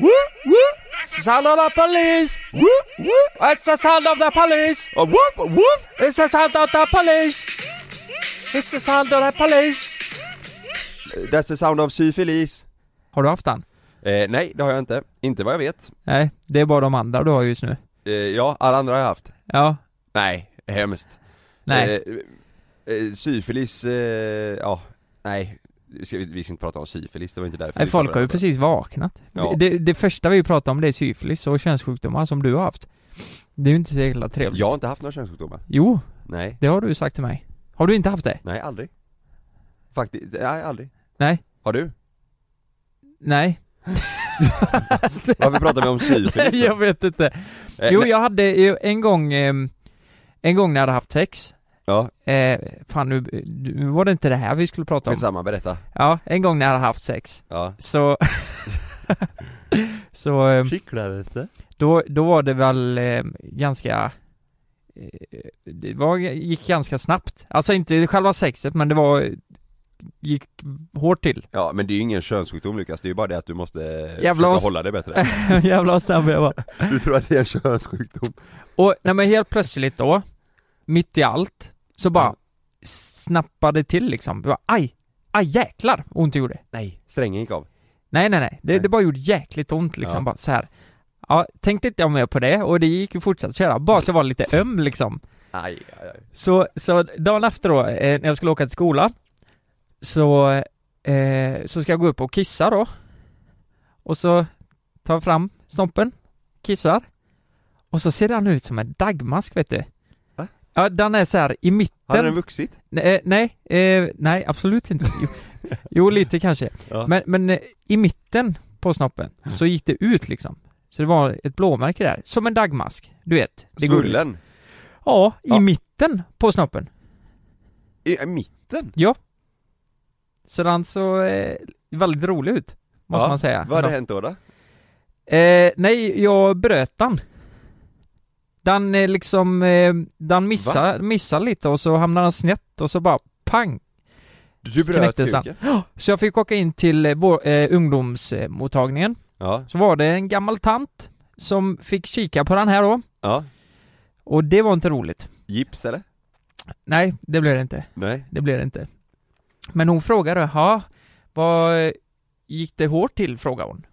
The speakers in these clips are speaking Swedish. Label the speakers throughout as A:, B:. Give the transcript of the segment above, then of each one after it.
A: Whoop, whoop. It's the sound of the police. Whoop, whoop. It's the sound of the police. Uh, whoop, whoop. It's the sound of the police. It's the sound of the police.
B: That's the sound of syfilis.
A: Har du haft den?
B: Eh, nej, det har jag inte. Inte vad jag vet.
A: Nej, det är bara de andra du har just nu.
B: Eh, ja, alla andra har jag haft.
A: Ja,
B: Nej, hemskt.
A: nej.
B: Eh, eh, syfilis, eh, ja, nej. Ska vi, vi ska inte prata om syfilis, det var inte därför
A: nej
B: vi
A: folk har
B: pratade
A: ju
B: om det.
A: precis vaknat.
B: Ja.
A: Det, det första vi pratar om det är syfilis och könssjukdomar som du har haft. Det är ju inte så jävla trevligt.
B: Jag har inte haft några könssjukdomar.
A: Jo,
B: Nej,
A: det har du sagt till mig. Har du inte haft det?
B: nej aldrig. Faktiskt, nej aldrig.
A: Nej.
B: Har du?
A: Nej.
B: Varför pratar vi om syfilis? då?
A: jag vet inte.
B: Eh,
A: Jo,
B: nej,
A: jag hade ju en gång, ehm, en gång när jag hade haft sex.
B: Ja,
A: Eh, fan nu, nu var det inte det här vi skulle prata om.
B: skitsamma, berätta.
A: Ja, en gång när jag hade haft sex.
B: Ja.
A: Så... så eh,
B: Kycklades det?
A: då, då var det väl eh, ganska... eh, Det var, gick ganska snabbt. Alltså inte själva sexet men det var... Gick hårt till.
B: Ja, men det är ju ingen könssjukdom Lukas, det är ju bara det att du måste eh,
A: Jävla
B: försöka
A: oss.
B: hålla dig bättre.
A: Jävlar vad snabb jag var.
B: Du tror att det är en könssjukdom?
A: Och nej, men helt plötsligt då, mitt i allt, så bara
B: Ja.
A: snappade till liksom. Det var, aj! Aj jäklar! Ont det gjorde.
B: Nej. Strängen gick av.
A: Nej nej nej, det,
B: Nej.
A: det bara gjorde jäkligt ont liksom,
B: Ja.
A: bara så här. Ja, tänkte inte jag mer på det och det gick ju fortsatt köra, bara att jag var lite öm liksom.
B: Aj, aj, aj.
A: Så, så dagen efter då, eh, när jag skulle åka till skolan, så, eh, så ska jag gå upp och kissa då. Och så tar jag fram snoppen, kissar. Och så ser den ut som en dagmask vet du.
B: Va?
A: Ja, den är så här i
B: Hade
A: mitten.
B: den vuxit?
A: Nej, nej, eh, nej absolut inte. Jo, jo lite kanske.
B: Ja.
A: Men, men eh, i mitten på snoppen så gick det ut liksom. Så det var ett blåmärke där, som en dagmask, du vet. Det går ut.
B: Svullen?
A: Ja, i
B: Ja.
A: mitten på snoppen.
B: I, I mitten?
A: Så den såg eh, väldigt rolig ut, måste
B: Ja,
A: man säga.
B: Vad hade hänt då? då?
A: eh, nej, jag bröt den. Den eh, liksom, eh, den missade, missade lite och så hamnade den snett och så bara pang.
B: Du bröt
A: Knäcktes han.
B: kuken?
A: Så jag fick åka in till eh, vår, eh, ungdomsmottagningen.
B: Ja,
A: Så var det en gammal tant som fick kika på den här då.
B: ja.
A: Och det var inte roligt.
B: Gips eller?
A: Nej, det blev det inte.
B: Nej.
A: Det blev det inte. Men hon frågade, ja, vad gick det hårt till? frågade hon.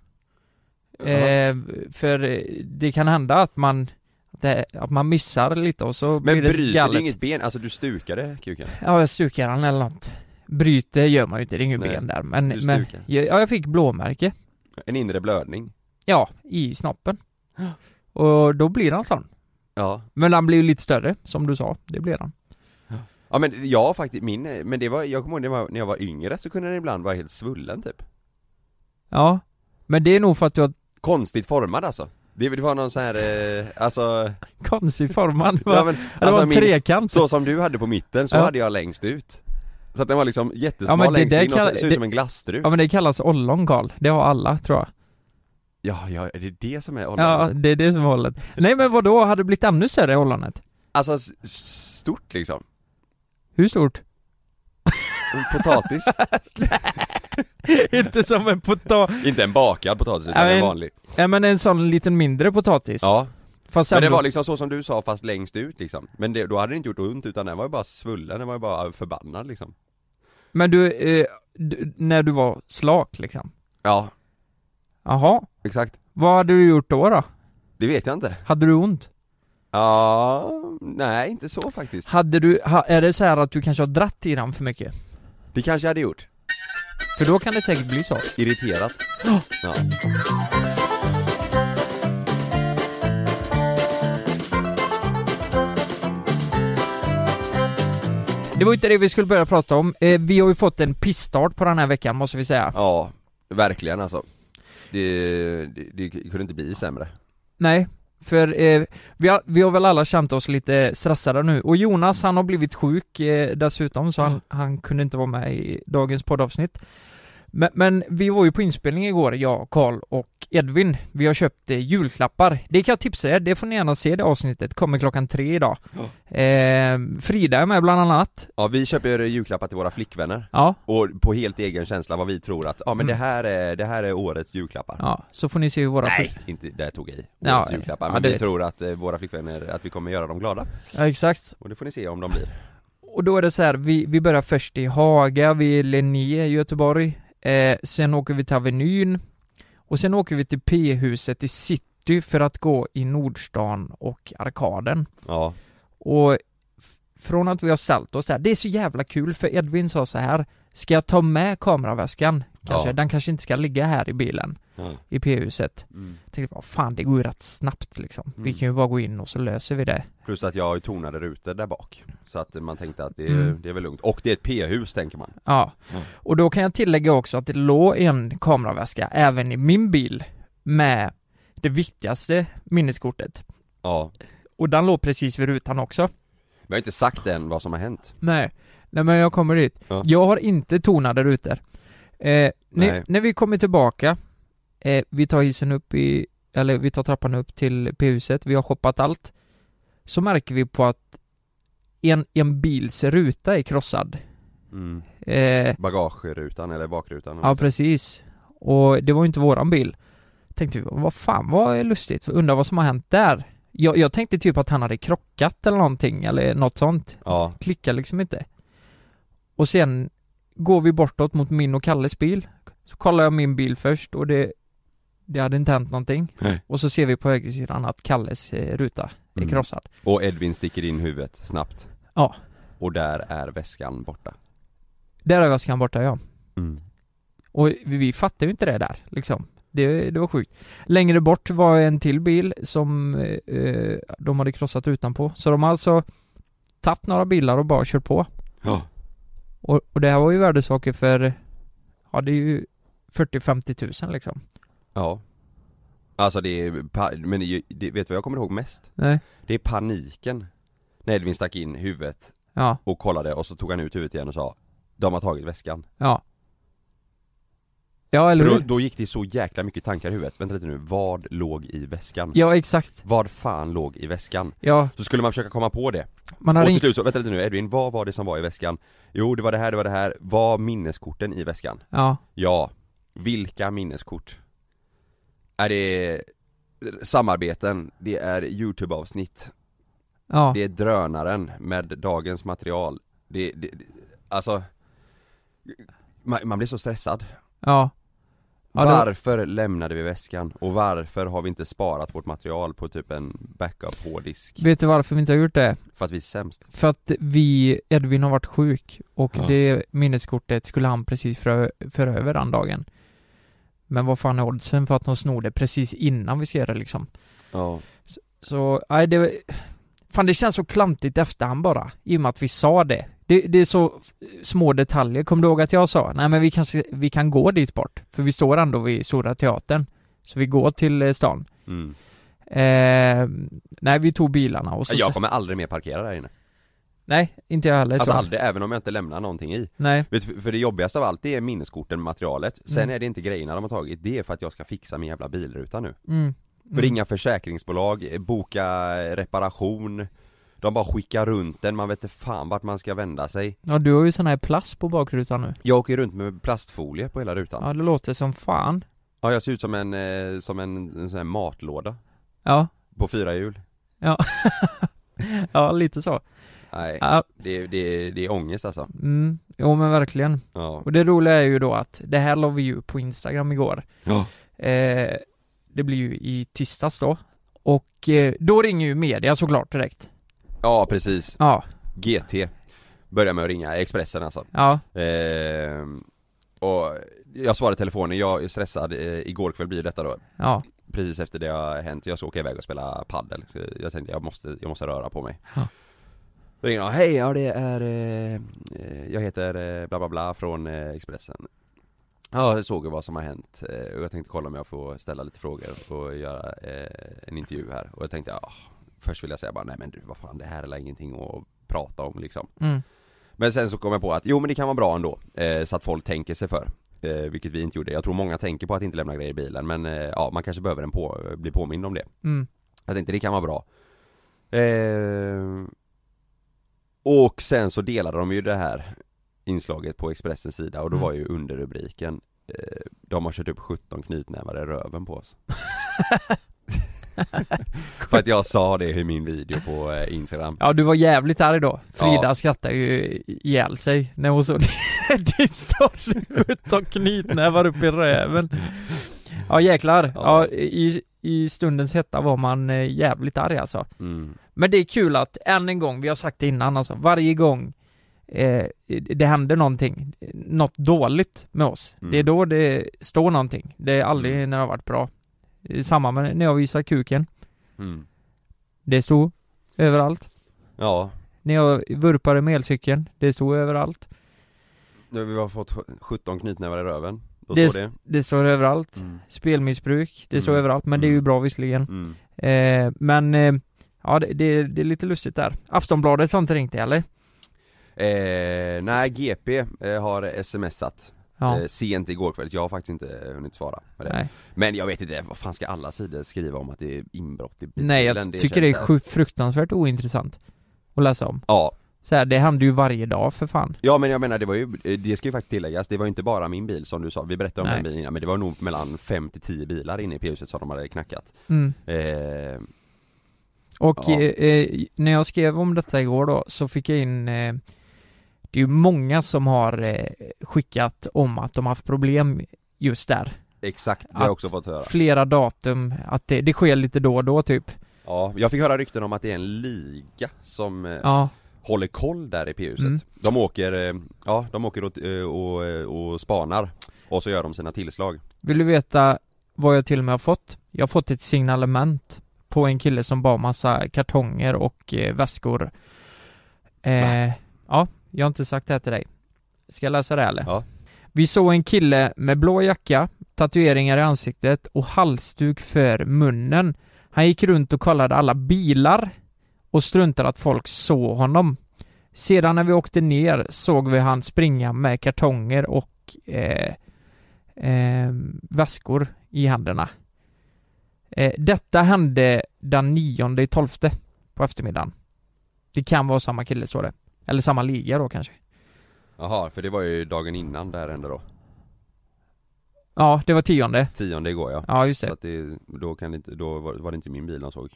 B: Jaha.
A: Eh, för eh, det kan hända att man, det, att man missar lite och så
B: Men
A: blir det
B: bryter det
A: galet.
B: är inget ben? Alltså du stukade kuken?
A: Ja, jag stukar den eller något. Bryter gör man ju inte, det är inget
B: Nej,
A: ben där. Men,
B: du
A: men
B: stukar.
A: ja, jag fick blåmärke.
B: En inre blödning?
A: Ja, i snoppen. Och då blir den sån.
B: Ja.
A: Men den blir ju lite större, som du sa. Det blir den.
B: Ja men jag har faktiskt, min, eh, men det var, jag kommer ihåg när jag var- när jag var yngre så kunde den ibland vara helt svullen typ
A: Ja. Men det är nog för att du har
B: Konstigt formad alltså Det, det var någon sån här, eh, alltså,
A: konstig formad.
B: ja,
A: Ja,
B: men,
A: det var
B: alltså
A: en
B: min-
A: trekant.
B: Så som du hade på mitten, så
A: Ja.
B: hade jag längst ut Så att den var liksom
A: Ja,
B: jättesmal
A: men det
B: längst
A: där
B: in och
A: kan-
B: så, såg ut
A: det-
B: som en glasstrut
A: Ja men det kallas ollon Karl, det har alla tror jag.
B: ja, ja, är det det som är
A: Ja,
B: ja.
A: det är det som är ollonet. Nej men vadå, hade det blivit ännu större ollonet?
B: Alltså s- stort liksom,
A: Hur stort?
B: En potatis
A: Inte som en potatis,
B: Inte en bakad potatis utan
A: Ja,
B: en
A: men-
B: vanlig
A: ja, men en sån liten mindre potatis.
B: Ja,
A: Fast
B: men det
A: ändå-
B: var liksom så som du sa fast längst ut liksom Men det, då hade det inte gjort ont utan den var ju bara svullen, den var ju bara förbannad liksom
A: men du, eh, du, när du var slak liksom.
B: Ja
A: Jaha,
B: Exakt.
A: vad hade du gjort då då?
B: Det vet jag inte.
A: Hade du ont?
B: Ja, nej inte så faktiskt.
A: Hade du, ha, är det så här att du kanske har dratt i den för mycket?
B: Det kanske jag hade gjort.
A: För då kan det säkert bli så.
B: Irriterat. Ja.
A: Det var inte det vi skulle börja prata om. Eh, vi har ju fått en pissstart på den här veckan måste vi säga.
B: ja, verkligen alltså. Det, det, det kunde inte bli sämre.
A: Nej, för eh, vi, har, vi har väl alla känt oss lite stressade nu. Och Jonas han har blivit sjuk eh, dessutom så han, han kunde inte vara med i dagens poddavsnitt. Men, men vi var ju på inspelning igår, jag, Karl och Edvin. Vi har köpt eh, julklappar. Det kan jag tipsa er, det får ni gärna se det avsnittet. Kommer klockan tre idag. Eh, Frida är med bland annat.
B: Ja, vi köper julklappar till våra flickvänner.
A: Ja.
B: Och på helt egen känsla vad vi tror att, ja men det här är, det här är årets julklappar.
A: Mm. Ja, så får ni se hur våra...
B: Nej, inte, där tog jag i.
A: Ja,
B: Årets julklappar.
A: ja,
B: Men
A: det
B: vi
A: vet
B: tror att eh, våra flickvänner, att vi kommer göra dem glada.
A: Ja, exakt.
B: Och det får ni se om de blir.
A: Och då är det så här, vi, vi börjar först i Haga, vi är i Linné i Göteborg, eh, sen åker vi till Avenyn och sen åker vi till P-huset i city för att gå i Nordstan och Arkaden.
B: Ja,
A: Och f- från att vi har sålt oss där, det är så jävla kul för Edvin sa så här, ska jag ta med kameraväskan? Kanske,
B: Ja.
A: den kanske inte ska ligga här i bilen,
B: Ja.
A: i P-huset.
B: Mm.
A: Tänkte, vad fan det går ju rätt snabbt liksom. Vi kan ju bara gå in och så löser vi det.
B: plus att jag har ju tonade rutor där bak. Så att man tänkte att det,
A: Mm.
B: det är väl lugnt. Och det är ett p-hus tänker man.
A: Ja,
B: Mm.
A: och då kan jag tillägga också att det låg en kameraväska även i min bil med det viktigaste minneskortet.
B: Ja.
A: Och den låg precis vid rutan också.
B: Vi har inte sagt än vad som har hänt.
A: Nej, nej men jag kommer dit.
B: Ja.
A: Jag har inte tonade rutor. Eh,
B: Nej.
A: när, när vi kommer tillbaka, eh, vi tar hissen upp i, eller vi tar trappan upp till P-huset, vi har shoppat allt. Så märker vi på att en, en bils ruta är krossad.
B: Mm.
A: Eh,
B: Bagagerutan eller bakrutan.
A: Ja precis. Och det var ju inte våran bil. Tänkte vi, vad fan vad lustigt, undrar vad som har hänt där. Jag, jag tänkte typ att han hade krockat eller någonting eller något sånt.
B: ja.
A: Klickar liksom inte. Och sen går vi bortåt mot min och Kalles bil. Så kollar jag min bil först och det, det hade inte hänt någonting.
B: Nej.
A: Och så ser vi på högersidan att Kalles eh, ruta är
B: Mm.
A: krossad.
B: Och Edvin sticker in huvudet snabbt.
A: Ja.
B: Och där är väskan borta.
A: Där är väskan borta ja. Och vi, vi fattade ju inte det där liksom. Det, det var sjukt. Längre bort var en till bil som eh, eh, de hade krossat utanpå. Så de har alltså tagit några bilar och bara kört på.
B: Ja.
A: Och, och det här var ju värdesaker för, ja det är ju 40-50 tusen liksom.
B: Ja. Alltså det är, pa- men det, det, vet du vad jag kommer ihåg mest?
A: Nej.
B: Det är paniken. När Edvin stack in huvudet
A: Ja,
B: och kollade och så tog han ut huvudet igen och sa De har tagit väskan.
A: ja. Ja, eller
B: För då,
A: hur?
B: då gick det så jäkla mycket tankar i huvudet. Vänta lite nu, vad låg i väskan?
A: Ja, exakt.
B: Vad fan låg i väskan?
A: Ja,
B: Så skulle man försöka komma på det.
A: man
B: Och typ
A: hade
B: till
A: inte...
B: slut så, vänta lite nu Edvin, vad var det som var i väskan? Jo, det var det här, det var det här. Var minneskorten i väskan?
A: Ja,
B: Ja, vilka minneskort? Är det samarbeten, det är Youtube-avsnitt,
A: ja.
B: det är drönaren med dagens material. Det, det, det alltså, man, man blir så stressad.
A: Ja. Ja, det-
B: Varför lämnade vi väskan? Och varför har vi inte sparat vårt material på typ en backup hårddisk?
A: Vet du varför vi inte har gjort det?
B: För att vi är sämst.
A: För att vi, Edvin har varit sjuk och
B: Ja.
A: det minneskortet skulle han precis föra för över den dagen. Men vad fan är oddsen för att de snor det precis innan vi ser det liksom?
B: Ja.
A: Så, nej det... Fan det känns så klantigt efterhand bara, i och med att vi sa det. Det, det är så f- små detaljer. Kommer du ihåg att jag sa, nej men vi kanske, vi kan gå dit bort. För vi står ändå vid Stora Teatern. Så vi går till eh, stan.
B: Mm.
A: Eh, nej vi tog bilarna och så...
B: Jag kommer aldrig mer parkera där inne.
A: Nej, inte jag heller.
B: Alltså
A: tror jag.
B: aldrig, även om jag inte lämnar någonting i.
A: Nej.
B: Vet, du, för det jobbigaste av allt, det är minneskorten, materialet. Sen
A: Mm.
B: är det inte grejerna de har tagit, det är för att jag ska fixa min jävla bilruta nu.
A: Mm. Mm.
B: Ringa försäkringsbolag, eh, boka reparation. De bara skickar runt den, man vet inte fan vart man ska vända sig.
A: Ja du har ju sån här plast på bakrutan nu.
B: Jag åker runt med plastfolie på hela rutan.
A: Ja det låter som fan.
B: Ja, jag ser ut som en, eh, som en, en sån här matlåda.
A: Ja,
B: På fyra hjul.
A: ja. ja lite så.
B: Ja, Nej,
A: Ja,
B: det, det, det är ångest alltså.
A: mm, jo men verkligen.
B: Ja.
A: Och det roliga är ju då att det här la vi ju på Instagram igår.
B: Ja.
A: Eh, det blir ju i tisdags då. Och eh, då ringer ju media såklart direkt.
B: ja, precis.
A: Ja,
B: GT. Börja med att ringa Expressen alltså.
A: ja,
B: Ehm, och jag svarade telefonen, jag är stressad, eh, igår kväll blir detta då.
A: ja,
B: Precis efter det har hänt, jag ska åka iväg och spela paddel så Jag tänkte jag måste, jag måste röra på mig
A: Ja.
B: Då ringer de, hej ja det är, eh, eh, jag heter eh, bla bla bla från eh, Expressen Ja, jag såg ju vad som har hänt eh, och jag tänkte kolla om jag får ställa lite frågor och göra eh, en intervju här och jag tänkte, ja Först vill jag säga bara, nej men du vad fan det här är väl ingenting att prata om liksom
A: mm,
B: men sen så kom jag på att, jo men det kan vara bra ändå, eh, så att folk tänker sig för eh, Vilket vi inte gjorde, jag tror många tänker på att inte lämna grejer i bilen men eh, ja, man kanske behöver en på, eh, bli påmind om det
A: mm,
B: Jag tänkte det kan vara bra eh, Och sen så delade de ju det här inslaget på Expressens sida och då
A: Mm.
B: var ju underrubriken eh, De har kört upp 17 knytnävar i röven på oss För att jag sa det i min video på eh, Instagram
A: Ja, du var jävligt arg då. Frida
B: Ja.
A: skrattade ju ihjäl sig när hon såg din story 17 knytnävar upp i röven. Ja jäklar. Ja,
B: Ja.
A: i, i stundens hetta var man eh, jävligt arg alltså.
B: mm.
A: Men det är kul att än en gång, vi har sagt det innan alltså, varje gång eh, det händer någonting, något dåligt med oss,
B: Mm.
A: det är då det står någonting. Det är aldrig när det har varit bra. Eh, Samma med när jag visade kuken,
B: Mm.
A: det stod överallt.
B: Ja,
A: När jag vurpade med elcykeln, det stod överallt.
B: Nu har vi bara fått 17 knytnävar i röven, då
A: Det-
B: står det
A: Det står överallt.
B: mm.
A: Spelmissbruk, det står
B: Mm.
A: överallt, men det är ju
B: Mm.
A: bra visserligen. Eh, men eh, ja, det, det, det är lite lustigt där. Aftonbladet har inte ringt dig eller?
B: Eh, nej, GP eh, har smsat
A: Ja.
B: eh, sent igår kväll, jag har faktiskt inte eh, hunnit svara med det.
A: Nej.
B: Men jag vet inte, vad fan ska alla sidor skriva om att det är inbrott i bilen?
A: Nej, jag tycker det är
B: känns så här-
A: sju- fruktansvärt ointressant att läsa om.
B: Ja,
A: Så här, det händer ju varje dag för fan.
B: ja men jag menar det var ju, eh, det ska ju faktiskt tilläggas, det var ju inte bara min bil som du sa, vi berättade om
A: Nej.
B: den bilen innan, men det var nog mellan 5 till 10 bilar inne i P-huset som de hade knackat
A: Mm.
B: eh,
A: Och
B: Ja.
A: eh, eh, när jag skrev om detta igår då så fick jag in eh, Det är ju många som har eh, skickat om att de haft problem just där.
B: Exakt, det har jag
A: Att-
B: också fått höra
A: Flera datum, att det, det sker lite då och då typ.
B: Ja, jag fick höra rykten om att det är en liga som eh,
A: Ja,
B: håller koll där i P-huset.
A: Mm.
B: De åker, eh, ja de åker och, eh, och, eh, och spanar och så gör de sina tillslag.
A: vill du veta vad jag till och med har fått? Jag har fått ett signalement på en kille som bar massa kartonger och eh, väskor. Eh, ja, jag har inte sagt det här till dig. Ska jag läsa det eller?
B: Ja.
A: Vi såg en kille med blå jacka, tatueringar i ansiktet och halsduk för munnen. Han gick runt och kollade alla bilar och struntade att folk såg honom. Sedan när vi åkte ner såg vi han springa med kartonger och eh, eh, väskor i händerna. Eh, detta hände den 9 i 12 på eftermiddagen. Det kan vara samma kille står det. Eller samma liga då kanske.
B: Jaha, för det var ju dagen innan det här hände då.
A: Ja, det var tionde.
B: Tionde igår ja.
A: Ja, just det.
B: Så att det, då, kan det inte, då var, var det inte min bil de såg.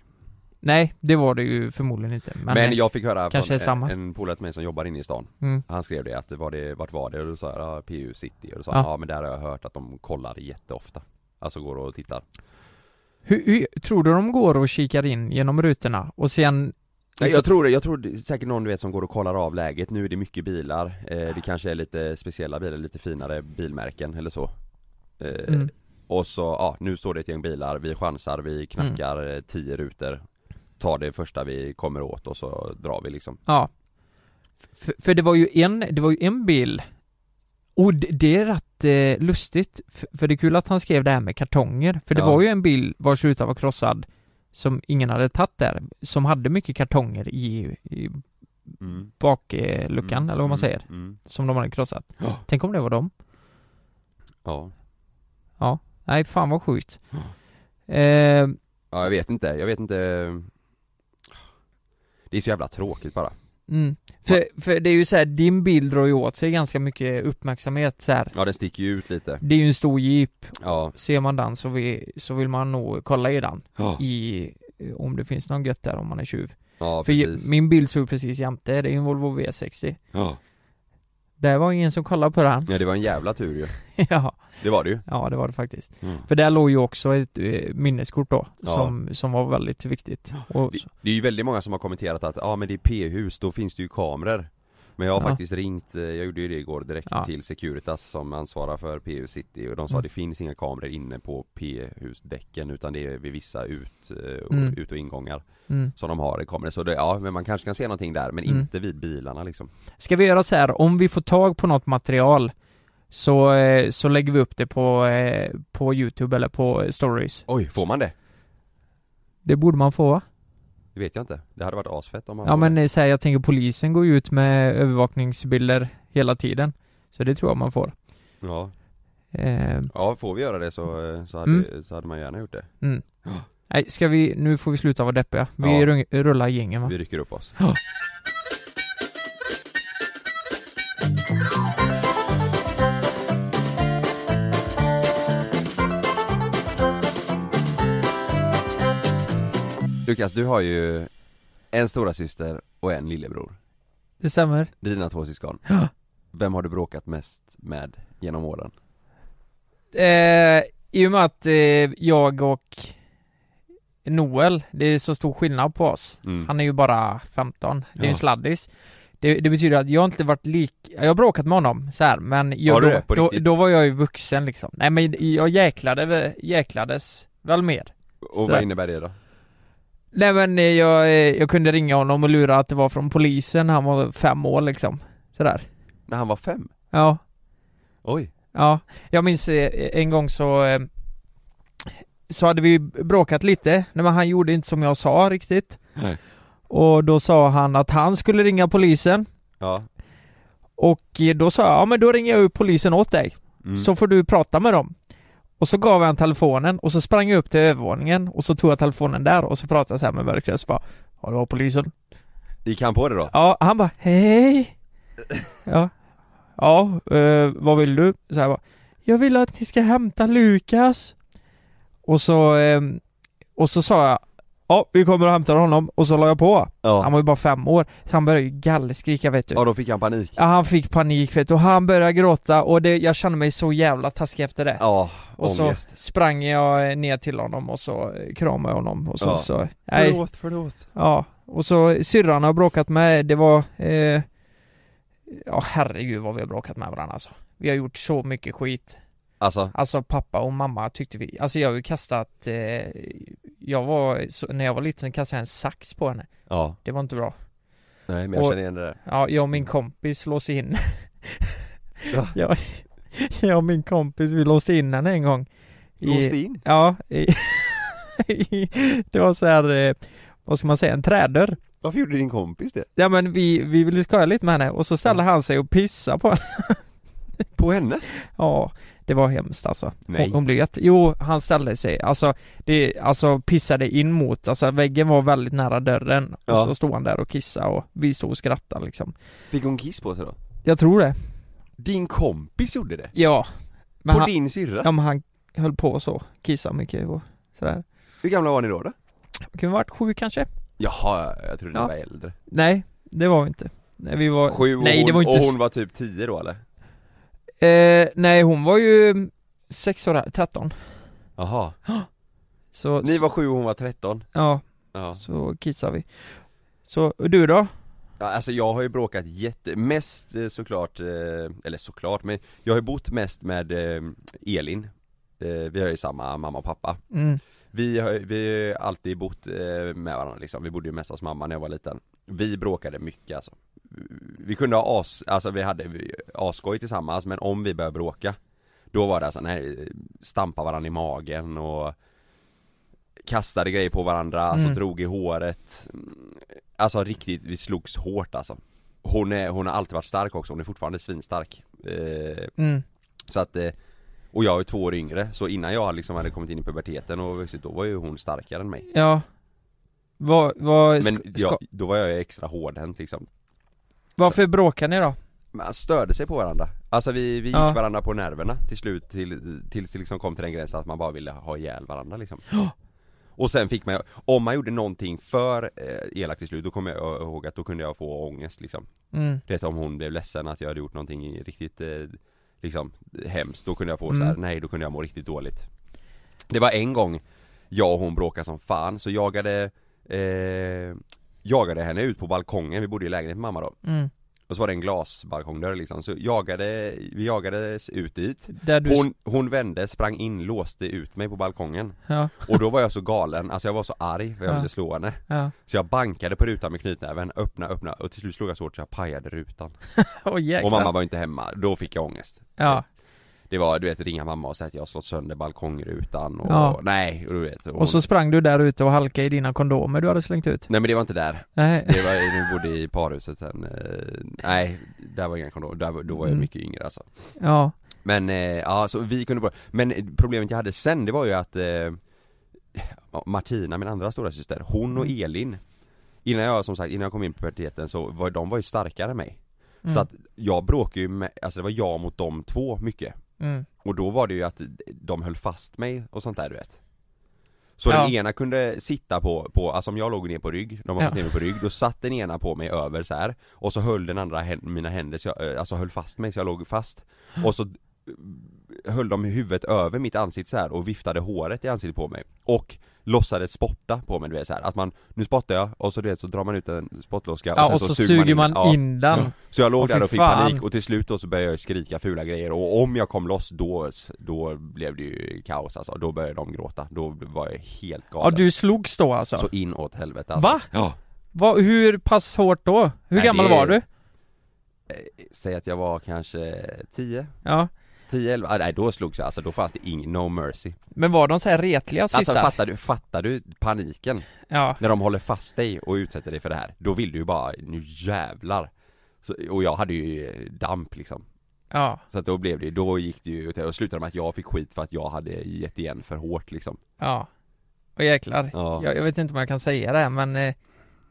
A: Nej, det var det ju förmodligen inte. Men, eh,
B: Men, jag fick höra
A: kanske är
B: från
A: samma.
B: en, en polare till mig som jobbar inne i stan.
A: Mm.
B: Han skrev det att var det, vart var det? Och då sa jag ja, PU city. Och då sa
A: Ja.
B: han ja men där har jag hört att de kollar jätteofta. Alltså går och tittar.
A: Hur, hur, tror du de går och kikar in genom rutorna och sen...
B: Nej, jag tror det, jag tror det, är säkert någon du vet som går och kollar av läget, nu är det mycket bilar,
A: Ah.
B: eh, det kanske är lite speciella bilar, lite finare bilmärken eller så eh,
A: Mm.
B: Och så, ja, nu står det ett gäng bilar, vi chansar, vi knackar
A: Mm.
B: eh, tio rutor Tar det första vi kommer åt och så drar vi liksom
A: Ja. För, för det var ju en, det var ju en bil. Och det, det är rätt eh, lustigt, för, för det är kul att han skrev det här med kartonger. För det
B: Ja.
A: var ju en bil vars ruta var krossad som ingen hade tagit där, som hade mycket kartonger i, i bakluckan,
B: Mm,
A: eller vad
B: mm,
A: man säger,
B: mm.
A: som de hade krossat.
B: Ja.
A: Tänk om det var dem.
B: Ja.
A: Nej, fan vad sjukt. Eh,
B: ja, jag vet inte, jag vet inte Det är så jävla tråkigt bara
A: mm. för, för det är ju så här, din bil drar ju åt sig ganska mycket uppmärksamhet så här.
B: Ja den sticker ju ut lite,
A: Det är ju en stor jeep,
B: ja
A: ser man den så, vi, så vill man nog kolla i den
B: Ja,
A: i, eh, om det finns någon gött där om man är tjuv.
B: Ja,
A: För
B: precis.
A: ju- min bil stod precis jämte, det är en Volvo V60
B: Ja.
A: Där var ingen som kollade på den
B: ja, det var en jävla tur ju.
A: ja,
B: Det var det ju.
A: ja det var det faktiskt
B: Mm.
A: För där låg ju också ett eh, minneskort då,
B: Ja.
A: som, som var väldigt viktigt och,
B: Det, det är ju väldigt många som har kommenterat att ja ah, men det är p-hus, då finns det ju kameror Men jag har
A: Ja.
B: faktiskt ringt, eh, jag gjorde ju det igår direkt
A: Ja.
B: till Securitas som ansvarar för p-hus city och de sa
A: Mm.
B: det finns inga kameror inne på p-husdäcken utan det är vid vissa ut, eh, och-
A: Mm.
B: ut och ingångar
A: mm.
B: som de har kameror så det, ja men man kanske kan se någonting där men
A: Mm.
B: inte vid bilarna liksom
A: Ska vi göra så här, om vi får tag på något material så, eh, så lägger vi upp det på, eh, på youtube eller på eh, stories
B: Oj, får man det?
A: Det borde man få va?
B: Det vet jag inte, det hade varit asfett om man
A: Ja
B: får
A: men
B: det.
A: eh, så här, jag tänker polisen går ju ut med övervakningsbilder hela tiden Så det tror jag man får
B: ja.
A: eh,
B: ja, får vi göra det så, eh, så, hade,
A: Mm.
B: så hade man gärna gjort det
A: Nej, ska vi, nu får vi sluta vara deppiga. Vi
B: Ja.
A: rung- rullar gängen va?
B: Vi rycker upp oss
A: Ja.
B: Lukas, du har ju en stora syster och en lillebror
A: Det stämmer.
B: Dina två syskon
A: Ja.
B: Vem har du bråkat mest med genom åren?
A: Eh, I och med att eh, jag och Noel, det är så stor skillnad på oss.
B: Mm.
A: Han är ju bara 15, det är ju
B: Ja.
A: en sladdis. Det, det betyder att jag har inte varit lik, jag har bråkat med honom så här, men jag,
B: Har du
A: då,
B: det? På
A: då,
B: riktigt?
A: då var jag ju vuxen liksom. Nej men jag jäklade, väl- jäklades väl mer.
B: Och
A: Sådär.
B: vad innebär det då?
A: Nej men eh, jag, eh, jag kunde ringa honom och lura att det var från polisen, han var fem år liksom. Sådär.
B: När han var fem?
A: Ja.
B: Oj!
A: Ja, jag minns eh, en gång så eh, Så hade vi bråkat lite, Nej, men han gjorde inte som jag sa riktigt
B: Nej.
A: Och då sa han att han skulle ringa polisen
B: Ja,
A: Och eh, då sa jag, ja men då ringer jag upp polisen åt dig
B: mm.
A: Så får du prata med dem Och så gav jag han telefonen och så sprang jag upp till övervåningen Och så tog jag telefonen där och så pratade jag så här med mörkret och så bara Ja det var polisen
B: gick han på det då?
A: Ja, han bara hej Ja, ja eh, vad vill du? Så här bara, jag vill att ni ska hämta Lukas Och så, eh, och så sa jag Ja, vi kommer och hämtar honom och så la jag på. Han
B: Ja,
A: var ju bara fem år, så han började ju gallskrika vet du.
B: ja då fick han panik
A: Ja, han fick panik vet du, och han började gråta och det, jag kände mig så jävla taskig efter det.
B: Ja,
A: och så
B: ångest
A: sprang jag eh, ner till honom och så eh, kramade jag honom och så,
B: Ja.
A: så nej.
B: Förlåt, förlåt
A: Ja, och så syrran har bråkat med, det var... Eh, ja herregud vad vi har bråkat med varandra alltså. Vi har gjort så mycket skit.
B: Alltså,
A: Alltså pappa och mamma tyckte vi, alltså jag har ju kastat, eh, jag var, så, när jag var liten kastade jag en sax på henne.
B: ja,
A: Det var inte bra.
B: nej men jag
A: Och-
B: känner igen det där
A: Ja, jag och min
B: Mm.
A: kompis låste in.
B: Va?
A: jag, jag och min kompis, vi låste in henne en gång. I-
B: Låste in?
A: Ja, i, i, det var så här, eh, vad ska man säga, en trädörr.
B: Varför gjorde din kompis det?
A: Ja men vi, vi ville skoja lite med henne och så ställde han sig och pissade på henne.
B: På henne?
A: Ja, det var hemskt alltså.
B: Nej.
A: Hon, hon blev jätte... Jo, han ställde sig, alltså, det, alltså pissade in mot, alltså väggen var väldigt nära dörren.
B: Ja.
A: Och så stod han där och kissade och vi stod och skrattade liksom.
B: Fick hon kiss på sig då?
A: Jag tror det.
B: Din kompis gjorde det?
A: Ja. Men
B: På
A: han,
B: din syrra?
A: ja, men han höll på så, kissade mycket och sådär.
B: Hur gamla var ni då? då?
A: Kunde varit sju kanske?
B: Jaha, jag trodde ni
A: Ja.
B: var äldre
A: Nej, det var vi inte. Nej, vi var...
B: Sju och,
A: nej, det var
B: hon,
A: inte...
B: och
A: s-
B: hon var typ tio då eller?
A: Eh, nej, hon var ju mm, sex år, 13.
B: Jaha,
A: Så,
B: ni var sju och hon var tretton?
A: ja.
B: Ja
A: Så kissar vi Så, och du då?
B: Ja, Alltså jag har ju bråkat jätte, mest eh, såklart, eh, eller såklart men jag har ju bott mest med eh, Elin Eh, Vi har ju samma mamma och pappa
A: Mm,
B: Vi har, vi har ju alltid bott eh, med varandra liksom, vi bodde ju mest hos mamma när jag var liten Vi bråkade mycket alltså Vi kunde ha as, alltså vi hade vi- asskoj tillsammans men om vi började bråka Då var det alltså, nej, stampa varandra i magen och Kastade grejer på varandra, alltså
A: Mm.
B: drog i håret Mm, Alltså riktigt, vi slogs hårt alltså Hon, är, hon har alltid varit stark också, hon är fortfarande svinstark eh,
A: mm,
B: så att, eh, och jag är två år yngre, så innan jag liksom hade kommit in i puberteten och vuxit, då var ju hon starkare än mig
A: ja vad, vad,
B: Men
A: sk-
B: jag,
A: ska,
B: då var jag ju extra hårdhänt liksom
A: varför bråkar ni då?
B: Man störde sig på varandra, alltså vi, vi gick
A: Ja.
B: varandra på nerverna till slut, till, tills det liksom kom till den gränsen att man bara ville ha ihjäl varandra liksom
A: Ja.
B: Och sen fick man, om man gjorde någonting för eh, elakt till slut, då kommer jag ihåg att då kunde jag få ångest liksom
A: Mm.
B: Du vet om hon blev ledsen att jag hade gjort någonting riktigt eh, liksom hemskt, då kunde jag få
A: Mm.
B: så här, nej då kunde jag må riktigt dåligt Det var en gång jag och hon bråkade som fan, så jagade eh, Jagade henne ut på balkongen, vi bodde i lägenhet med mamma då
A: Mm.
B: Och så var det en glasbalkongdörr liksom, så jagade, vi jagades ut dit
A: Där du...
B: hon, hon vände, sprang in, låste ut mig på balkongen
A: Ja,
B: Och då var jag så galen, alltså jag var så arg för jag
A: Ja.
B: ville slå henne
A: ja.
B: Så jag bankade på rutan med knytnäven, öppna, öppna och till slut slog jag så hårt så jag pajade rutan
A: Åh jäklar.
B: och mamma var inte hemma, då fick jag ångest
A: Ja.
B: Det var du vet ringa mamma och säga att jag har slått sönder balkongrutan och
A: Ja.
B: nej, och du vet hon...
A: Och så sprang du där ute och halkade i dina kondomer du hade slängt ut.
B: Nej men det var inte där,
A: Nej.
B: det var, vi bodde i parhuset sen, eh, nej där var inga kondomer, där, var- då var jag
A: Mm.
B: mycket yngre alltså
A: Ja.
B: Men eh, ja, så vi kunde bara, men problemet jag hade sen det var ju att eh, ja, Martina, min andra stora syster, hon och
A: Mm.
B: Elin Innan jag som sagt, innan jag kom in på puberteten så var de var ju starkare än mig
A: Mm.
B: Så att jag bråkade ju med, alltså det var jag mot de två mycket
A: Mm.
B: Och då var det ju att de höll fast mig och sånt där du vet Så
A: Ja.
B: den ena kunde sitta på, på, alltså om jag låg ner på rygg, de har
A: Ja.
B: satt ner mig på rygg, då satt den ena på mig över så här Och så höll den andra hän- mina händer, så jag, eh, alltså höll fast mig så jag låg fast Och så eh, höll de huvudet över mitt ansikte så här och viftade håret i ansiktet på mig Och låtsades spotta på mig du vet så här. att man, nu spottar jag och så du vet så drar man ut en spottloska
A: Ja, och så, suger man in,
B: Ja.
A: den.
B: Ja. Så jag låg
A: Åh, fy
B: där och fick
A: fan.
B: panik och till slut då så började jag skrika fula grejer och om jag kom loss då, då blev det ju kaos alltså, då började de gråta, då var jag helt
A: Ja,
B: galen
A: du slogs då alltså?
B: Så in åt helvete alltså.
A: Va?
B: Ja,
A: Va, hur pass hårt då? Hur
B: Nej,
A: gammal
B: det-
A: var du?
B: säg att jag var kanske 10,
A: Ja.
B: 10, 11, ah, nej då slogs jag alltså, då fanns det ingen, no mercy
A: Men var de så här retliga
B: Alltså
A: sista?
B: fattar du, fattar du paniken?
A: ja.
B: När de håller fast dig och utsätter dig för det här, då vill du ju bara, nu jävlar! Så, och jag hade ju damp liksom
A: ja,
B: Så att då blev det, då gick det ju, och slutade med att jag fick skit för att jag hade gett igen för hårt liksom
A: ja. Och jäklar.
B: Ja.
A: Jag, jag vet inte om jag kan säga det här, men eh,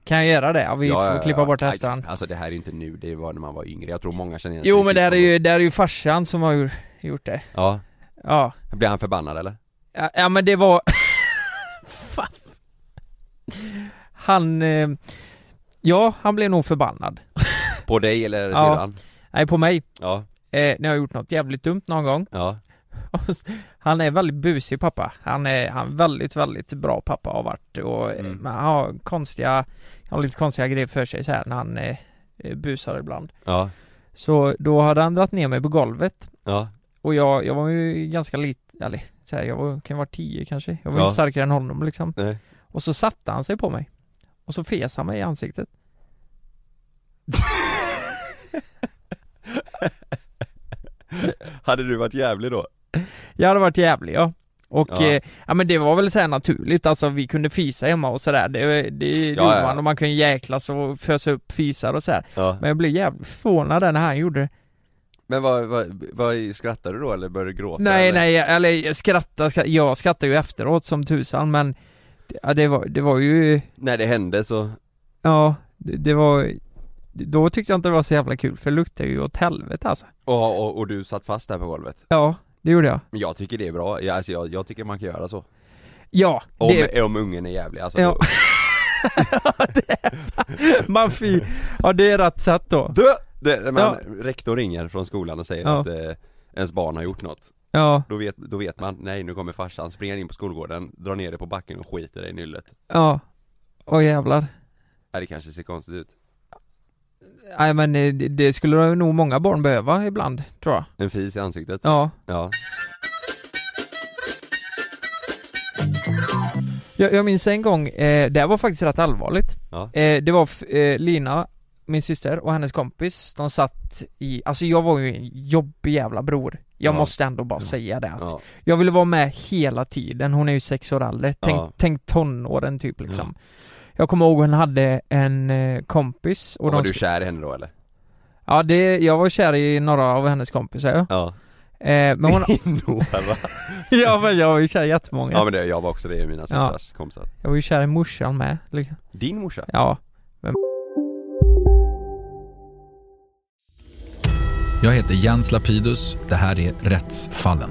A: kan jag göra det? Ja, vi får klippa bort
B: Nej,
A: efterhand.
B: Alltså det här är ju inte nu, det var när man var yngre, jag tror många känner igen sig
A: Jo
B: i
A: men det här är
B: syskonen.
A: ju, det här är ju farsan som har gjort- gjort det.
B: Ja,
A: Ja.
B: blir han förbannad eller?
A: Ja, ja men det var... Fan. Han... Eh... Ja, han blev nog förbannad.
B: På dig eller
A: Ja.
B: syrran?
A: Nej, på mig.
B: Ja,
A: Eh, när jag har gjort något jävligt dumt någon gång.
B: ja,
A: Och s- Han är väldigt busig pappa. Han är, han är väldigt, väldigt bra pappa har varit och eh,
B: Mm.
A: men han har konstiga, han har lite konstiga grejer för sig så här när han eh, eh, busar ibland.
B: ja,
A: Så då hade han dragit ner mig på golvet
B: ja,
A: och jag, jag var ju ganska liten, eller så här, jag var, kan ju vara tio kanske. Jag var
B: Ja.
A: inte starkare än honom liksom.
B: nej
A: Och så satte han sig på mig. Och så fes han mig i ansiktet.
B: Hade du varit jävlig då?
A: Jag hade varit jävlig ja. Och
B: Ja.
A: ja. Eh, ja men det var väl såhär naturligt, alltså vi kunde fisa hemma och sådär, det, det gjorde
B: ja.
A: man och man kunde jäklas och fösa upp fisar och sådär
B: Ja
A: Men jag blev jävligt förvånad där när han gjorde det
B: Men vad, vad, vad skrattade du då eller började du gråta?
A: Nej
B: eller?
A: nej, eller jag skrattar, skrattar, jag skrattar ju efteråt som tusan men Ja det var, det var ju,
B: När det hände så,
A: ja det, det var Då tyckte jag inte det var så jävla kul för det luktade ju åt helvete alltså
B: och, och, och du satt fast där på golvet?
A: Ja, det gjorde jag
B: Men jag tycker det är bra, jag, alltså, jag, jag tycker man kan göra så
A: Ja,
B: Om,
A: det,
B: om ungen är jävlig alltså
A: Ja.
B: då-
A: man fi, ja det är rätt sätt då
B: Dö! Det, men
A: Ja.
B: Rektor ringer från skolan och säger
A: Ja.
B: att eh, ens barn har gjort något
A: Ja,
B: Då vet, då vet man, nej nu kommer farsan, springer in på skolgården, drar ner det på backen och skiter i nyllet
A: ja Åh jävlar
B: Ja det kanske ser konstigt ut
A: Nej men eh, det- det skulle nog många barn behöva ibland, tror jag.
B: En fis i ansiktet
A: Ja.
B: Ja,
A: Jag, jag minns en gång, eh, det här var faktiskt rätt allvarligt.
B: ja,
A: Eh, det var f- eh, Lina, min syster och hennes kompis, de satt i, alltså jag var ju en jobbig jävla bror. Jag
B: Ja.
A: måste ändå bara säga det att
B: ja,
A: Jag ville vara med hela tiden, hon är ju sex år äldre, tänk,
B: Ja.
A: tänk tonåren typ liksom. Jag kommer ihåg hon hade en eh, kompis och
B: och Var
A: de
B: du
A: sk-
B: kär i henne då eller?
A: Ja det, jag var kär i några av hennes kompisar ja.
B: Ja
A: eh, Men hon,
B: Några
A: ja men jag var ju kär i jättemånga
B: Ja men det, jag var också det i mina systrars kompisar
A: Jag var ju kär i morsan med, liksom.
B: Din morsa?
A: Ja,
C: Jag heter Jens Lapidus. Det här är Rättsfallen.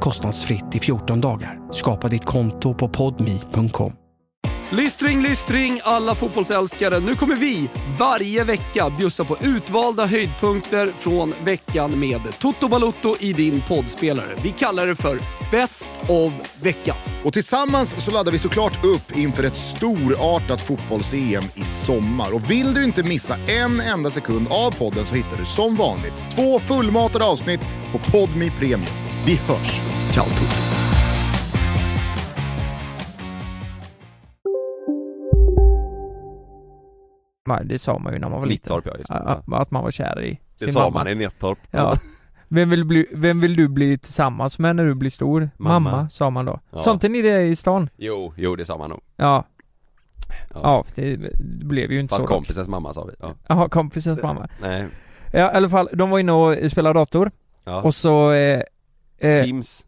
D: kostnadsfritt i 14 dagar. Skapa ditt konto på podmi.com.
E: Lystring, lystring alla fotbollsälskare. Nu kommer vi varje vecka bjussa på utvalda höjdpunkter från veckan med Toto Balotto i din poddspelare. Vi kallar det för Best of veckan.
F: Och tillsammans så laddar vi såklart upp inför ett storartat fotbolls-EM i sommar. Och vill du inte missa en enda sekund av podden så hittar du som vanligt två fullmatade avsnitt på Podmi Premium. Vi hörs! Ciao tutti!
A: Man- Det sa man ju när man var liten.
B: Nittorp ja, just det.
A: Ja, ja, Att man var kär i sin
B: Det sa
A: mamma.
B: man i Nettorp.
A: Ja. Vem vill, bli, vem vill du bli tillsammans med när du blir stor?
B: Mamma.
A: Mamma, sa man då.
B: Ja.
A: Sånt är ni det i stan.
B: Jo, jo det sa man nog.
A: Ja.
B: Ja.
A: Ja, det blev ju inte
B: Fast
A: så. dock.
B: kompisens mamma sa vi. Ja.
A: Jaha, kompisens mamma.
B: Nej.
A: Ja, i alla fall, de var inne och spelade dator.
B: Ja.
A: Och så... Eh, eh,
B: Sims.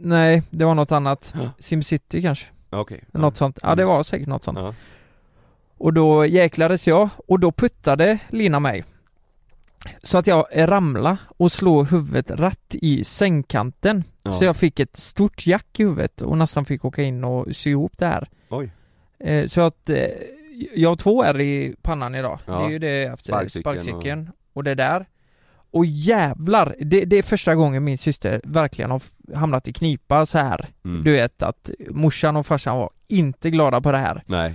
A: nej, det var något annat.
B: Ja.
A: Simcity kanske.
B: Ja, Okej. Ja. Mm.
A: Något sånt. Ja, det var säkert något sånt.
B: Ja.
A: Och då jäklades jag och då puttade Lina mig. Så att jag ramlade och slog huvudet rätt i sängkanten.
B: Ja.
A: Så jag fick ett stort jack i huvudet och nästan fick åka in och sy ihop det här.
B: Oj.
A: Eh, så att eh, jag har två är i pannan idag.
B: Ja.
A: Det är ju det efter
B: Sparkcykeln och-
A: sparkcykeln och... det där. Och jävlar, det, det är första gången min syster verkligen har f- hamnat i knipa så här.
B: Mm.
A: Du vet att morsan och farsan var inte glada på det här.
B: Nej.